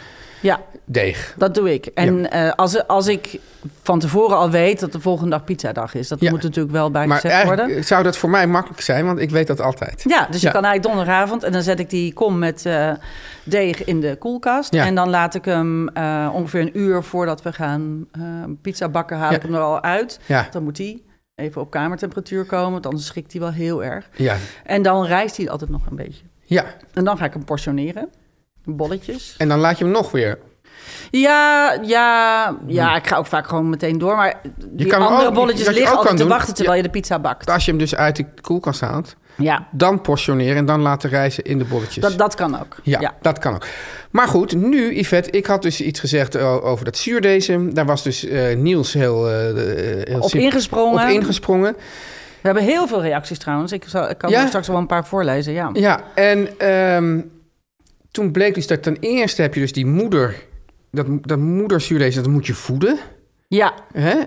[SPEAKER 3] Ja,
[SPEAKER 2] deeg.
[SPEAKER 3] dat doe ik. En eh, als, als ik van tevoren al weet dat de volgende dag pizzadag is, dat
[SPEAKER 2] Ja.
[SPEAKER 3] moet natuurlijk wel bij
[SPEAKER 2] maar
[SPEAKER 3] gezegd worden.
[SPEAKER 2] eigenlijk zou dat voor mij makkelijk zijn, want ik weet dat altijd.
[SPEAKER 3] Ja, dus
[SPEAKER 2] Ja.
[SPEAKER 3] je kan eigenlijk donderdagavond en dan zet ik die kom met eh, deeg in de koelkast.
[SPEAKER 2] Ja.
[SPEAKER 3] En dan laat ik hem eh, ongeveer een uur voordat we gaan eh, pizza bakken, haal
[SPEAKER 2] Ja.
[SPEAKER 3] ik hem er al uit.
[SPEAKER 2] Ja,
[SPEAKER 3] Dan moet die even op kamertemperatuur komen, want anders schikt hij wel heel erg.
[SPEAKER 2] ja,
[SPEAKER 3] En dan rijst hij altijd nog een beetje.
[SPEAKER 2] ja.
[SPEAKER 3] En dan ga ik hem portioneren. Bolletjes.
[SPEAKER 2] En dan laat je hem nog weer.
[SPEAKER 3] Ja, ja, ja, ik ga ook vaak gewoon meteen door. Maar die
[SPEAKER 2] Hm. kan hem
[SPEAKER 3] andere
[SPEAKER 2] ook-
[SPEAKER 3] bolletjes
[SPEAKER 2] wat je
[SPEAKER 3] liggen
[SPEAKER 2] ook kan
[SPEAKER 3] altijd te
[SPEAKER 2] doen-
[SPEAKER 3] wachten terwijl je de pizza bakt.
[SPEAKER 2] Als je hem dus uit de koelkast haalt,
[SPEAKER 3] Ja,
[SPEAKER 2] dan portioneren en dan laten rijzen in de bolletjes.
[SPEAKER 3] dat, dat kan ook.
[SPEAKER 2] Ja,
[SPEAKER 3] ja.
[SPEAKER 2] dat kan ook. Maar goed, nu, Yvette, ik had dus iets gezegd eh, over dat zuurdezen. Daar was dus eh, Niels heel, eh, eh, heel
[SPEAKER 3] Op
[SPEAKER 2] simpel-
[SPEAKER 3] ingesprongen.
[SPEAKER 2] op ingesprongen.
[SPEAKER 3] We hebben heel veel reacties trouwens. Ik, zal, ik kan
[SPEAKER 2] Ja?
[SPEAKER 3] er straks wel een paar voorlezen. Ja.
[SPEAKER 2] Ja, en ehm, toen bleek dus dat ten eerste heb je dus die moeder... Dat, dat moederzuurdezen, dat moet je voeden.
[SPEAKER 3] ja.
[SPEAKER 2] Hè?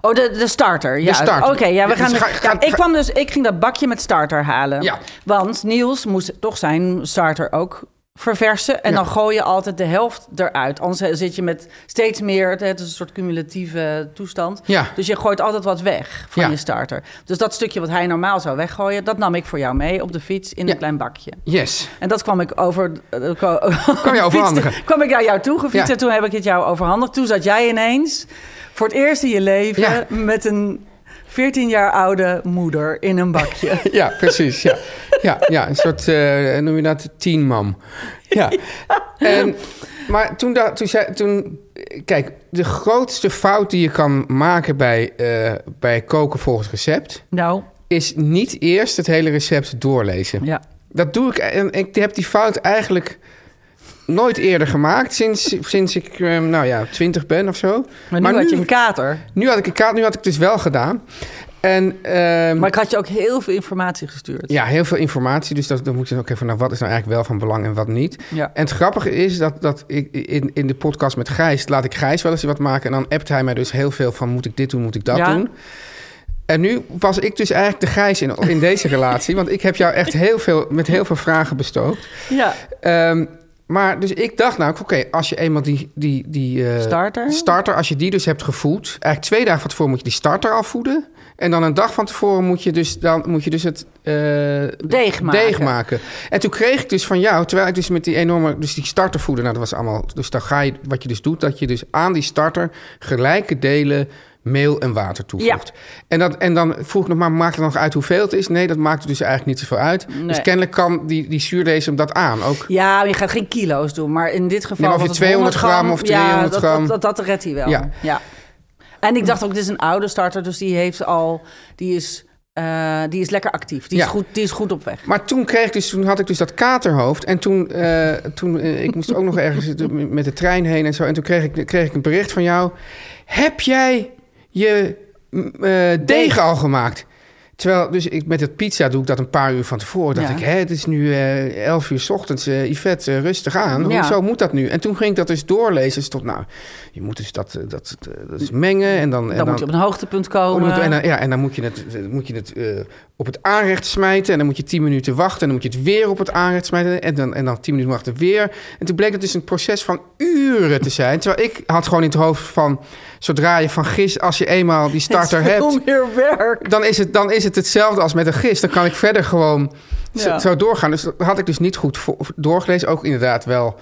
[SPEAKER 3] Oh, de, de starter. Ja.
[SPEAKER 2] starter.
[SPEAKER 3] Oké, ja,
[SPEAKER 2] Ja,
[SPEAKER 3] we gaan.
[SPEAKER 2] dus ga-
[SPEAKER 3] ja,
[SPEAKER 2] ga-
[SPEAKER 3] ik,
[SPEAKER 2] ga-
[SPEAKER 3] kwam dus, ik ging dat bakje met starter halen.
[SPEAKER 2] Ja.
[SPEAKER 3] Want Niels moest toch zijn starter ook verversen. En
[SPEAKER 2] Ja.
[SPEAKER 3] dan gooi je altijd de helft eruit. Anders eh, zit je met steeds meer. Het is een soort cumulatieve toestand.
[SPEAKER 2] Ja.
[SPEAKER 3] Dus je gooit altijd wat weg van
[SPEAKER 2] Ja.
[SPEAKER 3] je starter. Dus dat stukje wat hij normaal zou weggooien, dat nam ik voor jou mee op de fiets in
[SPEAKER 2] Ja.
[SPEAKER 3] een klein bakje.
[SPEAKER 2] Yes.
[SPEAKER 3] En dat kwam ik over. eh, ko-
[SPEAKER 2] je overhandigen?
[SPEAKER 3] *laughs* fietste- kwam ik naar jou toe gefietst
[SPEAKER 2] Ja.
[SPEAKER 3] en toen heb ik het jou overhandigd. Toen zat jij ineens voor het eerst in je leven
[SPEAKER 2] Ja.
[SPEAKER 3] met een 14 jaar oude moeder in een bakje.
[SPEAKER 2] Ja, precies. Ja, ja, ja een soort, eh, noem je dat, tienmam. Ja. En, maar toen, da, toen, zei, toen, kijk, de grootste fout die je kan maken bij, eh, bij koken volgens recept...
[SPEAKER 3] *laughs* nou,
[SPEAKER 2] is niet eerst het hele recept doorlezen.
[SPEAKER 3] ja.
[SPEAKER 2] Dat doe ik, en ik heb die fout eigenlijk nooit eerder gemaakt... sinds, sinds ik, eh, nou ja, twintig ben of zo.
[SPEAKER 3] Maar nu had je een kater.
[SPEAKER 2] nu had ik een kaart, nu had ik het dus wel gedaan. En, ehm,
[SPEAKER 3] Maar ik had je ook heel veel informatie gestuurd.
[SPEAKER 2] Ja, heel veel informatie. Dus dat, dan moet je dan ook even naar wat is nou eigenlijk wel van belang en wat niet.
[SPEAKER 3] Ja.
[SPEAKER 2] En het grappige is dat, dat ik in, in de podcast met Gijs laat ik Gijs wel eens wat maken. En dan appt hij mij dus heel veel van moet ik dit doen, moet ik dat
[SPEAKER 3] Ja.
[SPEAKER 2] doen. En nu was ik dus eigenlijk de Gijs in, in deze relatie. want ik heb jou echt heel veel, met heel veel vragen bestookt.
[SPEAKER 3] Ja.
[SPEAKER 2] Ehm, maar dus ik dacht nou, oké, als je eenmaal die... die, die eh,
[SPEAKER 3] Starter?
[SPEAKER 2] Starter, als je die dus hebt gevoed. Eigenlijk twee dagen van tevoren moet je die starter al voeden. En dan een dag van tevoren moet je dus, dan, moet je dus het... eh,
[SPEAKER 3] Deeg maken.
[SPEAKER 2] deeg maken. En toen kreeg ik dus van jou, terwijl ik dus met die enorme, dus die starter voeden, nou dat was allemaal, dus dan ga je, wat je dus doet, dat je dus aan die starter gelijke delen meel en water toevoegt. En, dat, en dan vroeg ik nog maar, maakt het nog uit hoeveel het is? Nee, dat maakt dus eigenlijk niet zoveel uit. Dus kennelijk kan die, die zuurdesem dat aan ook.
[SPEAKER 3] Ja, je gaat geen kilo's doen, maar in dit geval...
[SPEAKER 2] Nee, maar of
[SPEAKER 3] was
[SPEAKER 2] je
[SPEAKER 3] het
[SPEAKER 2] 200 gram of
[SPEAKER 3] ja,
[SPEAKER 2] 300
[SPEAKER 3] dat,
[SPEAKER 2] gram.
[SPEAKER 3] Dat, dat, dat redt hij wel.
[SPEAKER 2] Ja.
[SPEAKER 3] Ja. En ik dacht ook, dit is een oude starter, dus die heeft al... Die is, eh, die is lekker actief. Die,
[SPEAKER 2] Ja.
[SPEAKER 3] is goed, die is goed op weg.
[SPEAKER 2] Maar toen, kreeg ik dus, toen had ik dus dat katerhoofd. En toen, eh, toen eh, ik moest ook nog ergens de- met de trein heen en zo. En toen kreeg ik, kreeg ik een bericht van jou. Heb jij je mm, eh, deeg, al gemaakt? Terwijl, dus ik, met het pizza doe ik dat een paar uur van tevoren. Dacht
[SPEAKER 3] Ja.
[SPEAKER 2] ik, hè, het is nu eh, 11 uur 's ochtends. eh Yvette, eh, rustig aan.
[SPEAKER 3] Ja.
[SPEAKER 2] Hoezo moet dat nu? En toen ging ik dat dus doorlezen. Dus tot, nou, je moet dus dat, eh, dat, eh, dat is mengen. En dan, en
[SPEAKER 3] Dan, moet je op een hoogtepunt komen.
[SPEAKER 2] en, Oh,
[SPEAKER 3] *laughs*
[SPEAKER 2] dan, ja, en dan moet je het, eh, moet je het eh, op het aanrecht smijten. En dan moet je 10 minuten wachten. En dan moet je het weer op het aanrecht smijten. En dan, en dan 10 minuten wachten weer. En toen bleek het dus een proces van uren te zijn. Terwijl ik had gewoon in het hoofd van... zodra je van gist, als je eenmaal die starter
[SPEAKER 3] *laughs* Het is veel
[SPEAKER 2] hebt...
[SPEAKER 3] meer werk.
[SPEAKER 2] Dan is, het, dan is het hetzelfde als met een gist. Dan kan ik verder gewoon zo,
[SPEAKER 3] Ja.
[SPEAKER 2] zo doorgaan. Dus dat had ik dus niet goed vo- doorgelezen. Ook inderdaad wel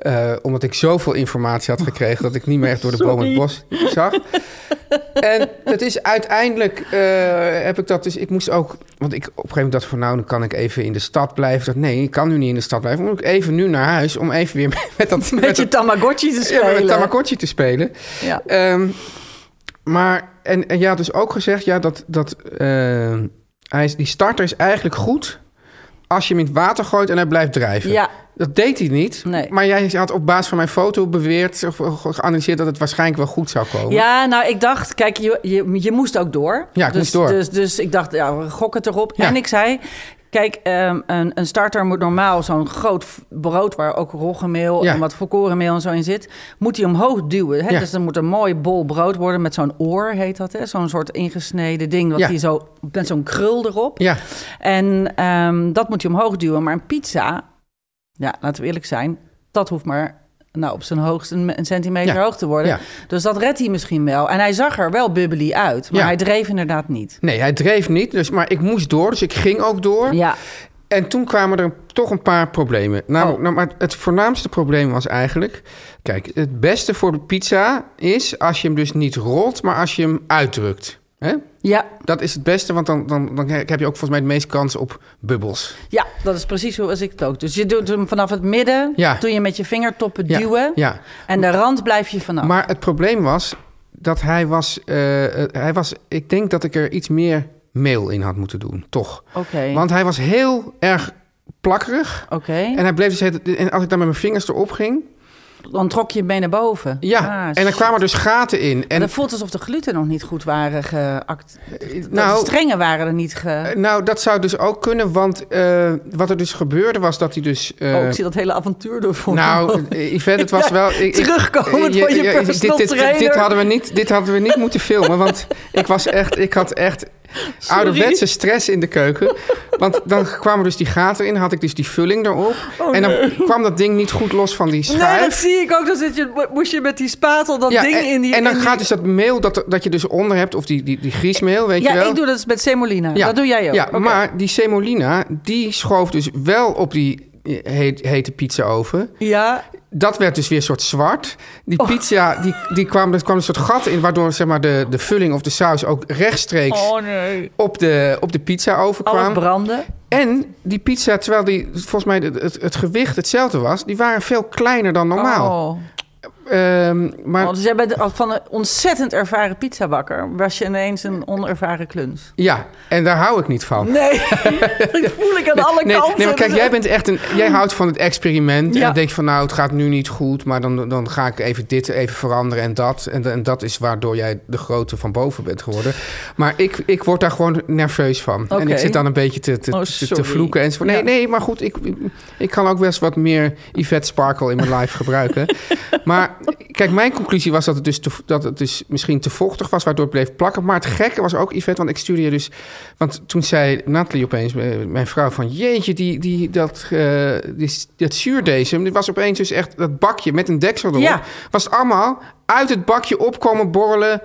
[SPEAKER 2] eh, omdat ik zoveel informatie had gekregen... dat ik niet meer echt door de boom het bos zag. En het is uiteindelijk eh, heb ik dat dus. Ik moest ook, want ik op een gegeven moment dacht van nou, dan kan ik even in de stad blijven. Dat nee, ik kan nu niet in de stad blijven. Dan moet ik even nu naar huis om even weer *laughs* met, dat
[SPEAKER 3] Met je Tamagotchi te
[SPEAKER 2] ja, met
[SPEAKER 3] spelen.
[SPEAKER 2] het Tamagotchi te spelen.
[SPEAKER 3] Ja.
[SPEAKER 2] Ehm, maar en, en je had dus ook gezegd ja dat dat eh, hij is, die starter is eigenlijk goed als je hem in het water gooit en hij blijft drijven.
[SPEAKER 3] Ja.
[SPEAKER 2] Dat deed hij niet.
[SPEAKER 3] Nee.
[SPEAKER 2] Maar jij had op basis van mijn foto beweerd of of geanalyseerd dat het waarschijnlijk wel goed zou komen.
[SPEAKER 3] Ja, nou, ik dacht, kijk, je, je, je moest ook door.
[SPEAKER 2] Ja, ik
[SPEAKER 3] dus,
[SPEAKER 2] moest door.
[SPEAKER 3] Dus, dus ik dacht, ja, we gokken het erop.
[SPEAKER 2] Ja.
[SPEAKER 3] En ik zei, Kijk, ehm, een, een starter moet normaal zo'n groot f- brood waar ook roggemeel
[SPEAKER 2] Ja.
[SPEAKER 3] en wat volkorenmeel en zo in zit, moet hij omhoog duwen. Hè?
[SPEAKER 2] Ja.
[SPEAKER 3] Dus dan moet een mooi bol brood worden met zo'n oor, heet dat. hè? Zo'n soort ingesneden ding, wat
[SPEAKER 2] Ja.
[SPEAKER 3] hij zo, met zo'n krul erop.
[SPEAKER 2] Ja,
[SPEAKER 3] En ehm, dat moet je omhoog duwen. Maar een pizza, ja, laten we eerlijk zijn, dat hoeft maar nou, op zijn hoogst een, een centimeter
[SPEAKER 2] Ja.
[SPEAKER 3] hoog te worden.
[SPEAKER 2] Ja.
[SPEAKER 3] Dus dat redt hij misschien wel. En hij zag er wel bubbly uit, maar
[SPEAKER 2] Ja.
[SPEAKER 3] hij dreef inderdaad niet.
[SPEAKER 2] nee, hij dreef niet, dus, maar ik moest door, dus ik ging ook door.
[SPEAKER 3] Ja,
[SPEAKER 2] En toen kwamen er toch een paar problemen. Namelijk,
[SPEAKER 3] Oh.
[SPEAKER 2] nou, maar het voornaamste probleem was eigenlijk... Kijk, het beste voor de pizza is als je hem dus niet rolt, maar als je hem uitdrukt. Hè?
[SPEAKER 3] ja,
[SPEAKER 2] Dat is het beste, want dan, dan, dan heb je ook volgens mij de meeste kans op bubbels.
[SPEAKER 3] ja, dat is precies zoals ik het ook. Dus je doet hem vanaf het midden,
[SPEAKER 2] Ja.
[SPEAKER 3] doe je met je vingertoppen
[SPEAKER 2] Ja,
[SPEAKER 3] duwen.
[SPEAKER 2] ja.
[SPEAKER 3] En de rand blijf je vanaf.
[SPEAKER 2] Maar het probleem was dat hij was, eh, eh, hij was... Ik denk dat ik er iets meer meel in had moeten doen, toch.
[SPEAKER 3] Oké,
[SPEAKER 2] Want hij was heel erg plakkerig.
[SPEAKER 3] oké.
[SPEAKER 2] En hij bleef dus... het- En als ik dan met mijn vingers erop ging...
[SPEAKER 3] Dan trok je hem mee naar boven.
[SPEAKER 2] Ja,
[SPEAKER 3] Ah,
[SPEAKER 2] en er
[SPEAKER 3] shit.
[SPEAKER 2] kwamen dus gaten in. En,
[SPEAKER 3] En het voelt alsof de gluten nog niet goed waren geact. Nou, de
[SPEAKER 2] nou,
[SPEAKER 3] strengen waren er niet ge...
[SPEAKER 2] eh, nou, dat zou dus ook kunnen, want eh, wat er dus gebeurde was dat hij dus... eh,
[SPEAKER 3] oh, ik zie dat hele avontuur ervoor. *laughs*
[SPEAKER 2] nou, eh, Yvette, het was wel... Ik, ik-
[SPEAKER 3] Terugkomend van je personal
[SPEAKER 2] Eh, dit, dit,
[SPEAKER 3] trainer.
[SPEAKER 2] dit, hadden we niet, dit hadden we niet moeten filmen, want ik, was echt, ik had echt ouderwetse stress in de keuken. Want dan kwamen dus die gaten in, had ik dus die vulling erop. en dan kwam dat ding niet goed los van die schuif.
[SPEAKER 3] Oh, Nee, dat zie ik ook. Dan zit je, moest je met die spatel dat
[SPEAKER 2] Ja,
[SPEAKER 3] ding
[SPEAKER 2] en,
[SPEAKER 3] in die...
[SPEAKER 2] en dan
[SPEAKER 3] in die-
[SPEAKER 2] gaat dus dat meel dat, dat je dus onder hebt, of die, die, die griesmeel, weet je
[SPEAKER 3] Ja,
[SPEAKER 2] wel.
[SPEAKER 3] ik doe dat met semolina.
[SPEAKER 2] Ja.
[SPEAKER 3] Dat doe jij ook.
[SPEAKER 2] Ja,
[SPEAKER 3] Oké.
[SPEAKER 2] maar die semolina, die schoof dus wel op die eh, heet, hete pizzaoven.
[SPEAKER 3] Ja,
[SPEAKER 2] Dat werd dus weer een soort zwart.
[SPEAKER 3] Oh.
[SPEAKER 2] Die pizza, die, die kwam, er kwam een soort gat in... waardoor zeg maar, de, de vulling of de saus ook rechtstreeks
[SPEAKER 3] Oh.
[SPEAKER 4] nee.
[SPEAKER 2] op, de, op de pizza
[SPEAKER 3] alles
[SPEAKER 2] overkwam.
[SPEAKER 3] branden.
[SPEAKER 2] en die pizza, terwijl die, volgens mij het, het, het gewicht hetzelfde was... die waren veel kleiner dan normaal.
[SPEAKER 3] Oh.
[SPEAKER 2] Ehm, maar
[SPEAKER 3] Oh, dus jij bent al van een ontzettend ervaren pizzabakker... was je ineens een onervaren kluns.
[SPEAKER 2] ja, en daar hou ik niet van. *laughs*
[SPEAKER 3] Nee, *laughs* dat voel ik aan alle
[SPEAKER 2] Oh. nee,
[SPEAKER 3] kanten.
[SPEAKER 2] Nee, maar kijk,
[SPEAKER 3] Dus-
[SPEAKER 2] jij bent echt een.
[SPEAKER 3] *laughs*
[SPEAKER 2] Jij houdt van het experiment.
[SPEAKER 3] Ja.
[SPEAKER 2] En denkt van nou, het gaat nu niet goed. Maar dan, dan ga ik even dit even veranderen en dat. En, en dat is waardoor jij de grote van boven bent geworden. Maar ik, ik word daar gewoon nerveus van. En
[SPEAKER 3] Oké.
[SPEAKER 2] ik zit dan een beetje te, te,
[SPEAKER 3] Oh,
[SPEAKER 2] te, te
[SPEAKER 3] sorry.
[SPEAKER 2] vloeken enzovoort. Nee,
[SPEAKER 3] Ja.
[SPEAKER 2] nee, maar goed, ik, ik kan ook best wat meer Yvette Sparkle in mijn life
[SPEAKER 3] *laughs*
[SPEAKER 2] gebruiken. Maar kijk, mijn conclusie was dat het, dus te, dat het dus misschien te vochtig was, waardoor het bleef plakken. Maar het gekke was ook, Yvette, want ik stuurde je dus... Want toen zei Nathalie opeens, eh, mijn vrouw, van... Jeetje, die, die, dat, eh die, dat zuurdesem, dit was opeens dus echt dat bakje met een deksel erop.
[SPEAKER 3] Ja.
[SPEAKER 2] Was allemaal uit het bakje opkomen borrelen.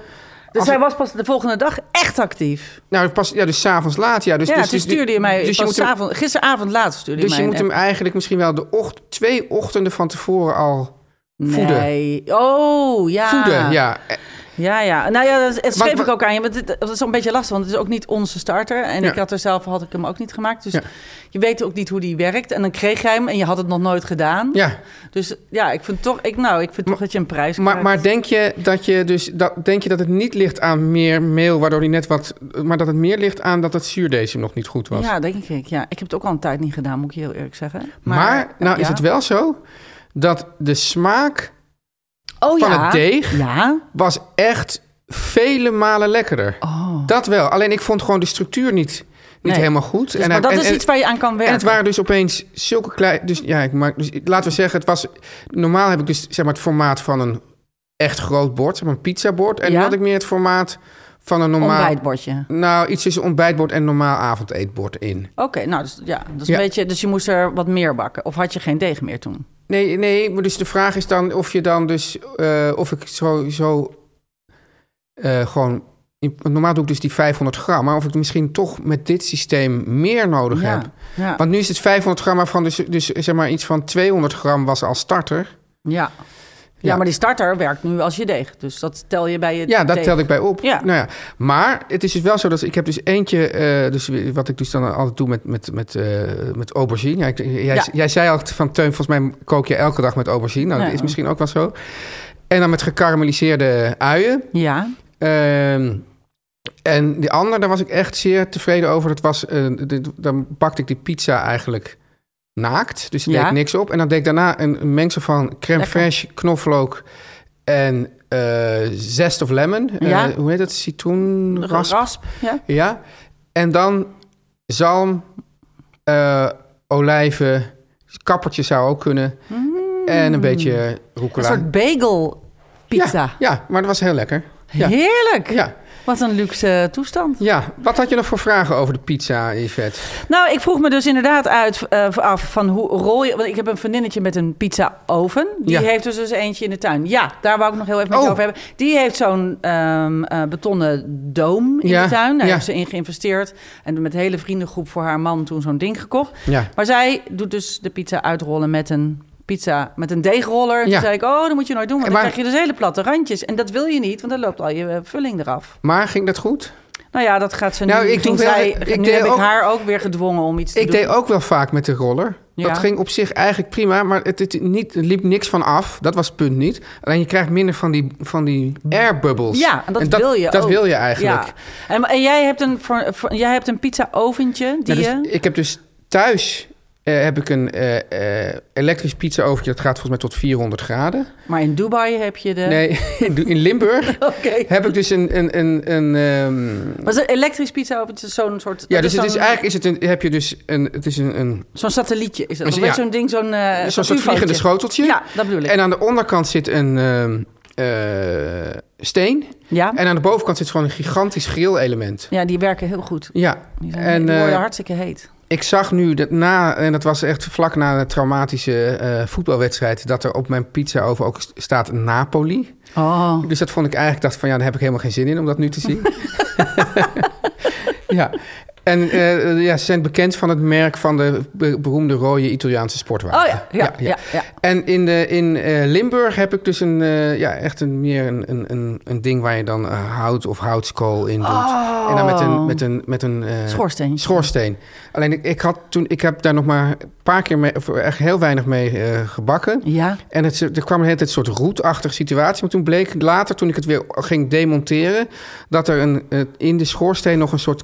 [SPEAKER 3] Dus
[SPEAKER 2] als
[SPEAKER 3] hij
[SPEAKER 2] ik-
[SPEAKER 3] was pas de volgende dag echt actief.
[SPEAKER 2] Nou, pas, ja, dus s'avonds laat. Ja, dus,
[SPEAKER 3] ja,
[SPEAKER 2] dus,
[SPEAKER 3] toen
[SPEAKER 2] dus,
[SPEAKER 3] stuurde je mij
[SPEAKER 2] Dus je
[SPEAKER 3] pas
[SPEAKER 2] moet hem-
[SPEAKER 3] avond, gisteravond laat stuurde je
[SPEAKER 2] dus je
[SPEAKER 3] mij
[SPEAKER 2] moet hem eigenlijk misschien wel de ocht, twee ochtenden van tevoren al voeden.
[SPEAKER 3] Nee. Oh, ja.
[SPEAKER 2] voeden. Ja.
[SPEAKER 3] Ja, ja. Nou ja, dat dat schreef
[SPEAKER 2] Wat- wat-
[SPEAKER 3] ik ook aan je. Maar dit- dat is een beetje lastig, want het is ook niet onze starter. En
[SPEAKER 2] Ja.
[SPEAKER 3] ik had er zelf, had ik hem ook niet gemaakt. Dus
[SPEAKER 2] Ja.
[SPEAKER 3] je weet ook niet hoe die werkt. En dan kreeg jij hem en je had het nog nooit gedaan.
[SPEAKER 2] ja.
[SPEAKER 3] Dus ja, ik vind toch, ik, nou, ik vind toch dat je een prijs
[SPEAKER 2] Maar,
[SPEAKER 3] krijgt.
[SPEAKER 2] maar denk, je dat je dus, dat, denk je dat het niet ligt aan meer meel, waardoor hij net wat... Maar dat het meer ligt aan dat het zuurdesem nog niet goed was?
[SPEAKER 3] Ja, denk ik. Ja, ik heb het ook al een tijd niet gedaan, moet ik je heel eerlijk zeggen.
[SPEAKER 2] Maar, nou is
[SPEAKER 3] ja.
[SPEAKER 2] het wel zo dat de smaak
[SPEAKER 3] oh,
[SPEAKER 2] van
[SPEAKER 3] ja.
[SPEAKER 2] het deeg
[SPEAKER 3] Ja.
[SPEAKER 2] was echt vele malen lekkerder. Dat wel. Alleen ik vond gewoon de structuur niet, niet
[SPEAKER 3] Oh. Nee.
[SPEAKER 2] helemaal goed.
[SPEAKER 3] Dus,
[SPEAKER 2] En
[SPEAKER 3] maar
[SPEAKER 2] hij-
[SPEAKER 3] dat
[SPEAKER 2] en-
[SPEAKER 3] is
[SPEAKER 2] en-
[SPEAKER 3] iets waar je aan kan werken.
[SPEAKER 2] En het waren dus opeens zulke klein. Dus ja, ik maak. Dus laten we zeggen, het was. Normaal heb ik dus zeg maar het formaat van een echt groot bord, zeg maar een pizzabord. En
[SPEAKER 3] Ja.
[SPEAKER 2] nu had ik meer het formaat van een normaal.
[SPEAKER 3] Ontbijtbordje.
[SPEAKER 2] Nou, iets tussen ontbijtbord en normaal avondeetbord in.
[SPEAKER 3] Oké, nou, dus, ja, dat is
[SPEAKER 2] Ja.
[SPEAKER 3] een beetje... Dus je moest er wat meer bakken. Of had je geen deeg meer toen?
[SPEAKER 2] Nee, nee, maar dus de vraag is dan of je dan dus. eh, of ik zo. zo eh, gewoon. in- want Normaal doe ik dus die 500 gram, maar of ik misschien toch met dit systeem meer nodig
[SPEAKER 3] ja.
[SPEAKER 2] heb.
[SPEAKER 3] Ja.
[SPEAKER 2] Want nu is het 500 gram, maar van dus, dus zeg maar iets van 200 gram was als starter.
[SPEAKER 3] Ja. ja.
[SPEAKER 2] Ja.
[SPEAKER 3] maar die starter werkt nu als je deeg. Dus dat tel je bij je
[SPEAKER 2] Ja, dat
[SPEAKER 3] deeg.
[SPEAKER 2] telde ik bij op.
[SPEAKER 3] Ja.
[SPEAKER 2] Nou ja. Maar het is dus wel zo dat ik heb dus eentje, eh, dus wat ik dus dan altijd doe met, met, met, eh, met aubergine. Ja, ik- jij,
[SPEAKER 3] Ja.
[SPEAKER 2] jij zei al van Teun, volgens mij kook je elke dag met aubergine. Nou, dat
[SPEAKER 3] Ja.
[SPEAKER 2] is misschien ook wel zo. En dan met gekarameliseerde uien.
[SPEAKER 3] Ja.
[SPEAKER 2] Ehm, en die andere, daar was ik echt zeer tevreden over. Dat was, eh, dit- dan bakte ik die pizza eigenlijk naakt. Dus daar
[SPEAKER 3] Ja.
[SPEAKER 2] deed ik niks op. En dan deed ik daarna een, een mengsel van crème
[SPEAKER 3] Lekker.
[SPEAKER 2] fraîche, knoflook en eh, zest of lemon. Eh,
[SPEAKER 3] Ja.
[SPEAKER 2] hoe heet dat? Citroen,
[SPEAKER 3] Rasp.
[SPEAKER 2] rasp.
[SPEAKER 3] Ja.
[SPEAKER 2] Ja. En dan zalm, eh, olijven, kappertje zou ook kunnen. En een beetje
[SPEAKER 3] Mm. Een
[SPEAKER 2] rucola.
[SPEAKER 3] soort bagel pizza.
[SPEAKER 2] Ja, ja, maar dat was heel lekker. Ja.
[SPEAKER 3] Heerlijk.
[SPEAKER 2] Ja.
[SPEAKER 3] Wat een luxe toestand.
[SPEAKER 2] ja, wat had je nog voor vragen over de pizza, Yvette?
[SPEAKER 3] Nou, ik vroeg me dus inderdaad uit, eh, af van hoe rooi... Want ik heb een vriendinnetje met een pizza-oven. Die
[SPEAKER 2] Ja.
[SPEAKER 3] heeft dus, dus eentje in de tuin. Ja, daar wou ik nog heel even met
[SPEAKER 2] Oh.
[SPEAKER 3] je over hebben. Die heeft zo'n ehm, eh, betonnen doom in
[SPEAKER 2] Ja,
[SPEAKER 3] de tuin. Daar
[SPEAKER 2] ja.
[SPEAKER 3] heeft ze in geïnvesteerd. En met een hele vriendengroep voor haar man toen zo'n ding gekocht.
[SPEAKER 2] Ja.
[SPEAKER 3] Maar zij doet dus de pizza uitrollen met een pizza met een deegroller. Toen
[SPEAKER 2] Ja.
[SPEAKER 3] zei ik, oh, dat moet je nooit doen, want
[SPEAKER 2] Maar-
[SPEAKER 3] dan krijg je dus hele platte randjes. En dat wil je niet, want dan loopt al je eh, vulling eraf.
[SPEAKER 2] Maar ging dat goed?
[SPEAKER 3] Nou ja, dat gaat ze nu.
[SPEAKER 2] Nou, ik
[SPEAKER 3] ging
[SPEAKER 2] doe wel-
[SPEAKER 3] zij,
[SPEAKER 2] ik
[SPEAKER 3] ging- nu
[SPEAKER 2] deed
[SPEAKER 3] heb ik
[SPEAKER 2] ook-
[SPEAKER 3] haar ook weer gedwongen om iets te
[SPEAKER 2] Ik
[SPEAKER 3] doen.
[SPEAKER 2] deed ook wel vaak met de roller.
[SPEAKER 3] Ja.
[SPEAKER 2] Dat ging op zich eigenlijk prima, maar het, het niet, er liep niks van af. Dat was het punt niet. Alleen je krijgt minder van die, van die airbubbels.
[SPEAKER 3] Ja, en dat, wil je
[SPEAKER 2] Dat
[SPEAKER 3] ook.
[SPEAKER 2] wil je eigenlijk. Nou,
[SPEAKER 3] Ja. En, en jij hebt een, voor, voor- jij hebt een pizza-oventje die eh,
[SPEAKER 2] Nou, dus
[SPEAKER 3] je...
[SPEAKER 2] ik heb dus thuis eh, heb ik een eh, eh, elektrisch pizza oventje. Dat gaat volgens mij tot 400 graden.
[SPEAKER 3] Maar in Dubai heb je de...
[SPEAKER 2] Nee, *laughs* in Limburg
[SPEAKER 3] *laughs* Oké.
[SPEAKER 2] heb ik dus een... een, een, een ehm,
[SPEAKER 3] Was een elektrisch pizza-oventje zo'n soort...
[SPEAKER 2] ja,
[SPEAKER 3] dat
[SPEAKER 2] dus het
[SPEAKER 3] zo'n-
[SPEAKER 2] is eigenlijk is het een, heb je dus een, het is een, een
[SPEAKER 3] Zo'n satellietje is dat.
[SPEAKER 2] Dus
[SPEAKER 3] Of weet
[SPEAKER 2] ja.
[SPEAKER 3] je, zo'n ding, zo'n...
[SPEAKER 2] Zo'n
[SPEAKER 3] eh, zo'n
[SPEAKER 2] soort
[SPEAKER 3] ufootje.
[SPEAKER 2] vliegende schoteltje.
[SPEAKER 3] Ja, dat bedoel ik.
[SPEAKER 2] En aan de onderkant zit een ehm, eh, steen.
[SPEAKER 3] ja?
[SPEAKER 2] En aan de bovenkant zit gewoon een gigantisch grillelement.
[SPEAKER 3] ja, die werken heel goed.
[SPEAKER 2] Ja,
[SPEAKER 3] Die, zijn,
[SPEAKER 2] en
[SPEAKER 3] die worden
[SPEAKER 2] eh,
[SPEAKER 3] hartstikke heet.
[SPEAKER 2] ik zag nu dat na, en dat was echt vlak na de traumatische eh, voetbalwedstrijd, dat er op mijn pizza over ook staat Napoli.
[SPEAKER 3] Oh.
[SPEAKER 2] Dus dat vond ik eigenlijk, dacht van ja, daar heb ik helemaal geen zin in om dat nu te
[SPEAKER 3] *laughs*
[SPEAKER 2] zien. ja. En eh, ja, ze zijn bekend van het merk van de be- beroemde rode Italiaanse sportwagen.
[SPEAKER 3] Oh ja, ja, ja. ja,
[SPEAKER 2] En in, de, in eh, Limburg heb ik dus een, eh, ja, echt een, meer een, een, een, een ding waar je dan eh, hout of houtskool in doet.
[SPEAKER 3] Oh.
[SPEAKER 2] En dan met een, met een, met een eh,
[SPEAKER 3] Schoorsteen.
[SPEAKER 2] schoorsteen. Alleen ik, ik, had toen, ik heb daar nog maar een paar keer mee, of echt heel weinig mee eh, gebakken.
[SPEAKER 3] Ja.
[SPEAKER 2] En het, er kwam een hele tijd een soort roetachtige situatie. Maar toen bleek later, toen ik het weer ging demonteren, dat er een, eh, in de schoorsteen nog een soort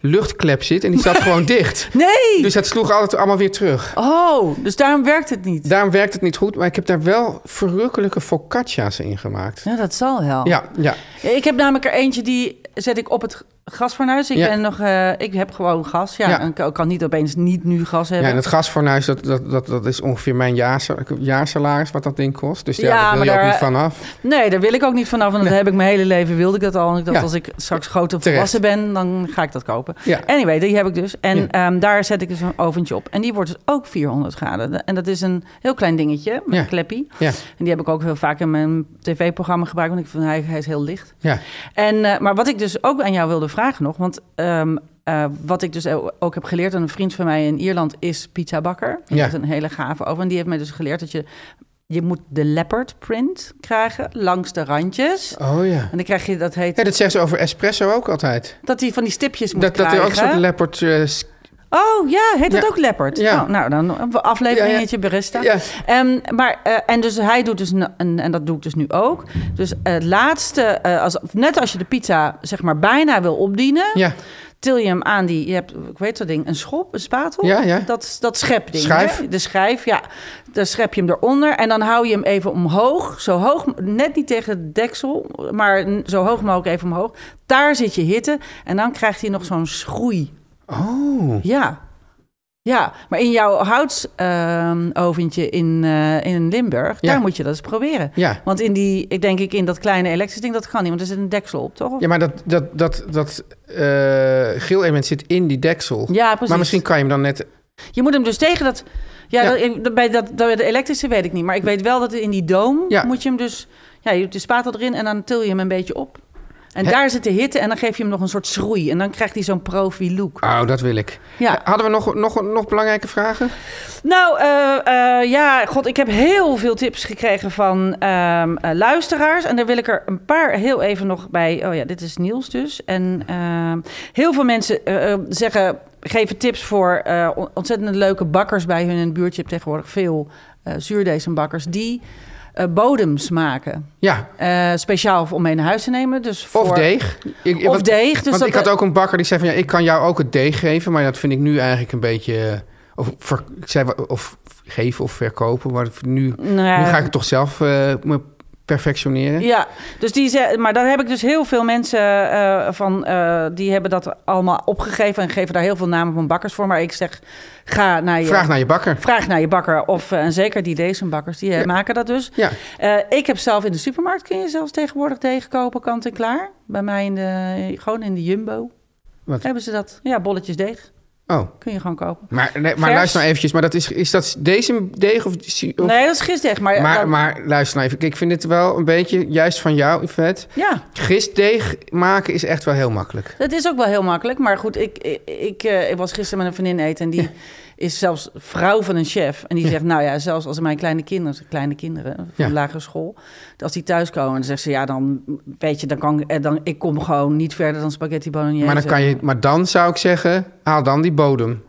[SPEAKER 2] luchtklep zit. En die
[SPEAKER 3] *laughs*
[SPEAKER 2] zat gewoon dicht.
[SPEAKER 3] Nee!
[SPEAKER 2] Dus dat sloeg altijd allemaal weer terug.
[SPEAKER 3] Oh, dus daarom werkt het niet.
[SPEAKER 2] Daarom werkt het niet goed, maar ik heb daar wel verrukkelijke focaccia's in gemaakt.
[SPEAKER 3] Ja, dat zal wel.
[SPEAKER 2] Ja, ja.
[SPEAKER 3] Ik heb namelijk er eentje die zet ik op het gasfornuis. Ik
[SPEAKER 2] Ja.
[SPEAKER 3] ben nog, eh, ik heb gewoon gas. Ja,
[SPEAKER 2] Ja.
[SPEAKER 3] En ik ik kan niet opeens niet nu gas
[SPEAKER 2] ja
[SPEAKER 3] hebben.
[SPEAKER 2] en het gasfornuis, dat, dat, dat, dat is ongeveer mijn jaarsa- jaarsalaris wat dat ding kost. Dus ja,
[SPEAKER 3] Ja,
[SPEAKER 2] daar wil
[SPEAKER 3] maar
[SPEAKER 2] je ook
[SPEAKER 3] daar- eh,
[SPEAKER 2] niet vanaf.
[SPEAKER 3] Nee, daar wil ik ook niet vanaf. Want dat heb ik mijn hele leven wilde ik dat al. En ik dacht,
[SPEAKER 2] Ja.
[SPEAKER 3] als ik straks grote
[SPEAKER 2] Terecht.
[SPEAKER 3] volwassen ben, dan ga ik dat kopen.
[SPEAKER 2] Ja.
[SPEAKER 3] Anyway, die heb ik dus. En
[SPEAKER 2] Ja.
[SPEAKER 3] ehm, daar zet ik dus een oventje op. En die wordt dus ook 400 graden. En dat is een heel klein dingetje met
[SPEAKER 2] Ja.
[SPEAKER 3] een kleppie.
[SPEAKER 2] Ja,
[SPEAKER 3] En die heb ik ook heel vaak in mijn tv-programma gebruikt. Want ik vind hij, hij is heel licht.
[SPEAKER 2] ja.
[SPEAKER 3] En, eh, maar wat ik dus ook aan jou wilde vragen nog, want ehm, eh, wat ik dus ook heb geleerd aan een vriend van mij in Ierland is pizzabakker. Die
[SPEAKER 2] Ja.
[SPEAKER 3] heeft een hele gave over. En die heeft mij dus geleerd dat je, je moet de leopard print krijgen langs de randjes.
[SPEAKER 2] Oh ja.
[SPEAKER 3] En dan krijg je, dat heet,
[SPEAKER 2] Ja, dat zeggen ze over espresso ook altijd.
[SPEAKER 3] dat die van die stipjes moet
[SPEAKER 2] Dat, dat
[SPEAKER 3] krijgen.
[SPEAKER 2] er ook een soort leopard... eh, s-
[SPEAKER 3] Oh ja, heet dat
[SPEAKER 2] Ja.
[SPEAKER 3] ook Leopard?
[SPEAKER 2] Ja.
[SPEAKER 3] Oh, nou, dan een afleveringetje barista.
[SPEAKER 2] Ja.
[SPEAKER 3] Ehm, maar, eh, en dus hij doet dus, een- een- en dat doe ik dus nu ook. Dus eh, het laatste, eh, als, net als je de pizza zeg maar bijna wil opdienen,
[SPEAKER 2] ja,
[SPEAKER 3] til je hem aan die, je hebt, ik weet dat ding, een schop, een spatel.
[SPEAKER 2] Ja, ja.
[SPEAKER 3] Dat, dat schepding.
[SPEAKER 2] Schijf.
[SPEAKER 3] hè? De schijf, ja. Dan schep je hem eronder en dan hou je hem even omhoog. Zo hoog, net niet tegen het deksel, maar n- zo hoog mogelijk even omhoog. Daar zit je hitte en dan krijgt hij nog zo'n schroei.
[SPEAKER 2] Oh.
[SPEAKER 3] Ja. Ja, maar in jouw houtoventje in, eh, in Limburg,
[SPEAKER 2] Ja.
[SPEAKER 3] daar moet je dat eens proberen.
[SPEAKER 2] ja.
[SPEAKER 3] Want in die, ik denk ik, in dat kleine elektrische ding, dat kan niet, want er zit een deksel op, toch?
[SPEAKER 2] Ja, maar dat, dat, dat, dat eh geel element zit in die deksel.
[SPEAKER 3] Ja, precies.
[SPEAKER 2] Maar misschien kan je hem dan net...
[SPEAKER 3] Je moet hem dus tegen dat... Ja,
[SPEAKER 2] Ja.
[SPEAKER 3] dat- ik- dat- bij dat, dat- de elektrische weet ik niet. Maar ik weet wel dat in die doom
[SPEAKER 2] Ja.
[SPEAKER 3] moet je hem dus... Ja, je doet de spatel erin en dan til je hem een beetje op. En
[SPEAKER 2] Hè?
[SPEAKER 3] daar zit de hitte en dan geef je hem nog een soort schroei. En dan krijgt hij zo'n profi-look.
[SPEAKER 2] Oh, dat wil ik.
[SPEAKER 3] Ja.
[SPEAKER 2] Hadden we nog, nog, nog belangrijke vragen?
[SPEAKER 3] Nou, eh, eh, ja, god, ik heb heel veel tips gekregen van ehm, eh, luisteraars. En daar wil ik er een paar heel even nog bij... Oh ja, dit is Niels dus. En ehm, heel veel mensen eh, eh, zeggen... Geven tips voor eh, on- ontzettend leuke bakkers bij hun in het buurtje. Je hebt tegenwoordig veel eh zuurdezenbakkers die eh, bodems maken.
[SPEAKER 2] Ja,
[SPEAKER 3] Eh, speciaal om mee naar huis te nemen. Dus voor,
[SPEAKER 2] Of deeg. Ik,
[SPEAKER 3] Of
[SPEAKER 2] want-
[SPEAKER 3] deeg. Dus
[SPEAKER 2] want
[SPEAKER 3] dat
[SPEAKER 2] ik had ook een bakker die zei van... ja, ik kan jou ook het deeg geven, maar dat vind ik nu eigenlijk een beetje... eh, Of, ver- ik zei, wa- of geven of verkopen, maar nu,
[SPEAKER 3] Nou ja,
[SPEAKER 2] nu ga ik het toch zelf eh, mijn perfectioneren.
[SPEAKER 3] Ja, dus die ze, maar daar heb ik dus heel veel mensen eh, van, eh, die hebben dat allemaal opgegeven en geven daar heel veel namen van bakkers voor. Maar ik zeg, ga naar je,
[SPEAKER 2] Vraag naar je bakker.
[SPEAKER 3] vraag naar je bakker. Of, eh, en zeker die deze bakkers, die eh,
[SPEAKER 2] Ja.
[SPEAKER 3] maken dat dus.
[SPEAKER 2] Ja,
[SPEAKER 3] Eh, ik heb zelf in de supermarkt, kun je zelfs tegenwoordig deeg kopen, kant en klaar. Bij mij in de, gewoon in de Jumbo.
[SPEAKER 2] Wat?
[SPEAKER 3] Hebben ze dat? Ja, bolletjes deeg.
[SPEAKER 2] oh.
[SPEAKER 3] Kun je gewoon kopen.
[SPEAKER 2] Maar, nee, maar
[SPEAKER 3] Vers.
[SPEAKER 2] luister nou eventjes, maar dat is, is dat deze deeg of... of-
[SPEAKER 3] nee, dat is gistdeeg. Maar, eh,
[SPEAKER 2] maar,
[SPEAKER 3] dan-
[SPEAKER 2] maar luister nou even, ik vind dit wel een beetje, juist van jou, Yvette.
[SPEAKER 3] ja,
[SPEAKER 2] Gistdeeg maken is echt wel heel makkelijk.
[SPEAKER 3] dat is ook wel heel makkelijk. Maar goed, ik, ik, ik, eh, ik was gisteren met een vriendin eten en die is zelfs vrouw van een chef. En die zegt, nou ja, zelfs als mijn kleine kinderen, kleine kinderen van
[SPEAKER 2] Ja.
[SPEAKER 3] de lagere school, als die thuiskomen, dan zegt ze, ja, dan weet je, dan kan ik- eh, dan, ik kom gewoon niet verder dan spaghetti bolognese.
[SPEAKER 2] Maar dan, kan je, maar dan zou ik zeggen, haal dan die bodem.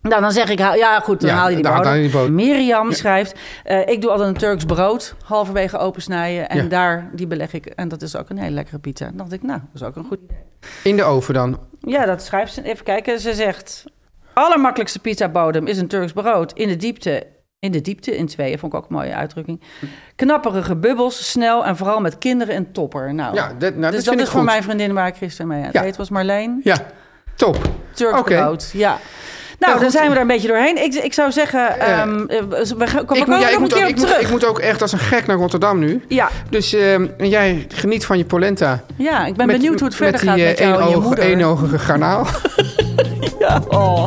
[SPEAKER 3] Nou, dan zeg ik, haal- ja goed, dan
[SPEAKER 2] Ja,
[SPEAKER 3] haal je die
[SPEAKER 2] dan haal
[SPEAKER 3] boter.
[SPEAKER 2] je die boter.
[SPEAKER 3] Mirjam schrijft, eh, ik doe altijd een Turks brood, halverwege opensnijden. En
[SPEAKER 2] Ja.
[SPEAKER 3] daar, die beleg ik. En dat is ook een hele lekkere pizza. Dan dacht ik, nou, dat is ook een goed idee.
[SPEAKER 2] In de oven dan.
[SPEAKER 3] Ja, dat schrijft ze. Even kijken, ze zegt... Allermakkelijkste pizzabodem is een Turks brood in de diepte. In de diepte, in tweeën, vond ik ook een mooie uitdrukking. Knapperige bubbels, snel en vooral met kinderen en topper. Nou,
[SPEAKER 2] Ja, dat- nou, dat
[SPEAKER 3] dus
[SPEAKER 2] vind
[SPEAKER 3] dat
[SPEAKER 2] ik
[SPEAKER 3] is voor
[SPEAKER 2] goed.
[SPEAKER 3] mijn vriendin waar ik gisteren mee aan het
[SPEAKER 2] Ja.
[SPEAKER 3] eten was, Marleen.
[SPEAKER 2] Ja, top.
[SPEAKER 3] Turks
[SPEAKER 2] Oké.
[SPEAKER 3] brood, ja. Nou,
[SPEAKER 2] Nou,
[SPEAKER 3] dan
[SPEAKER 2] goed.
[SPEAKER 3] zijn we daar een beetje doorheen. Ik, ik zou zeggen, ehm, eh, we, gaan- we
[SPEAKER 2] Ik moet,
[SPEAKER 3] komen
[SPEAKER 2] ja,
[SPEAKER 3] er
[SPEAKER 2] ik,
[SPEAKER 3] nog een
[SPEAKER 2] moet ook,
[SPEAKER 3] keer
[SPEAKER 2] ik,
[SPEAKER 3] op
[SPEAKER 2] moet,
[SPEAKER 3] terug.
[SPEAKER 2] ik moet ook echt als een gek naar Rotterdam nu.
[SPEAKER 3] ja,
[SPEAKER 2] Dus ehm, en jij geniet van je polenta.
[SPEAKER 3] ja, ik ben
[SPEAKER 2] Met-
[SPEAKER 3] benieuwd hoe het verder
[SPEAKER 2] met die,
[SPEAKER 3] gaat
[SPEAKER 2] eh,
[SPEAKER 3] met jou en je
[SPEAKER 2] eenoog-
[SPEAKER 3] moeder.
[SPEAKER 2] eenogige
[SPEAKER 3] *laughs*
[SPEAKER 2] garnaal.
[SPEAKER 3] Ja, oh.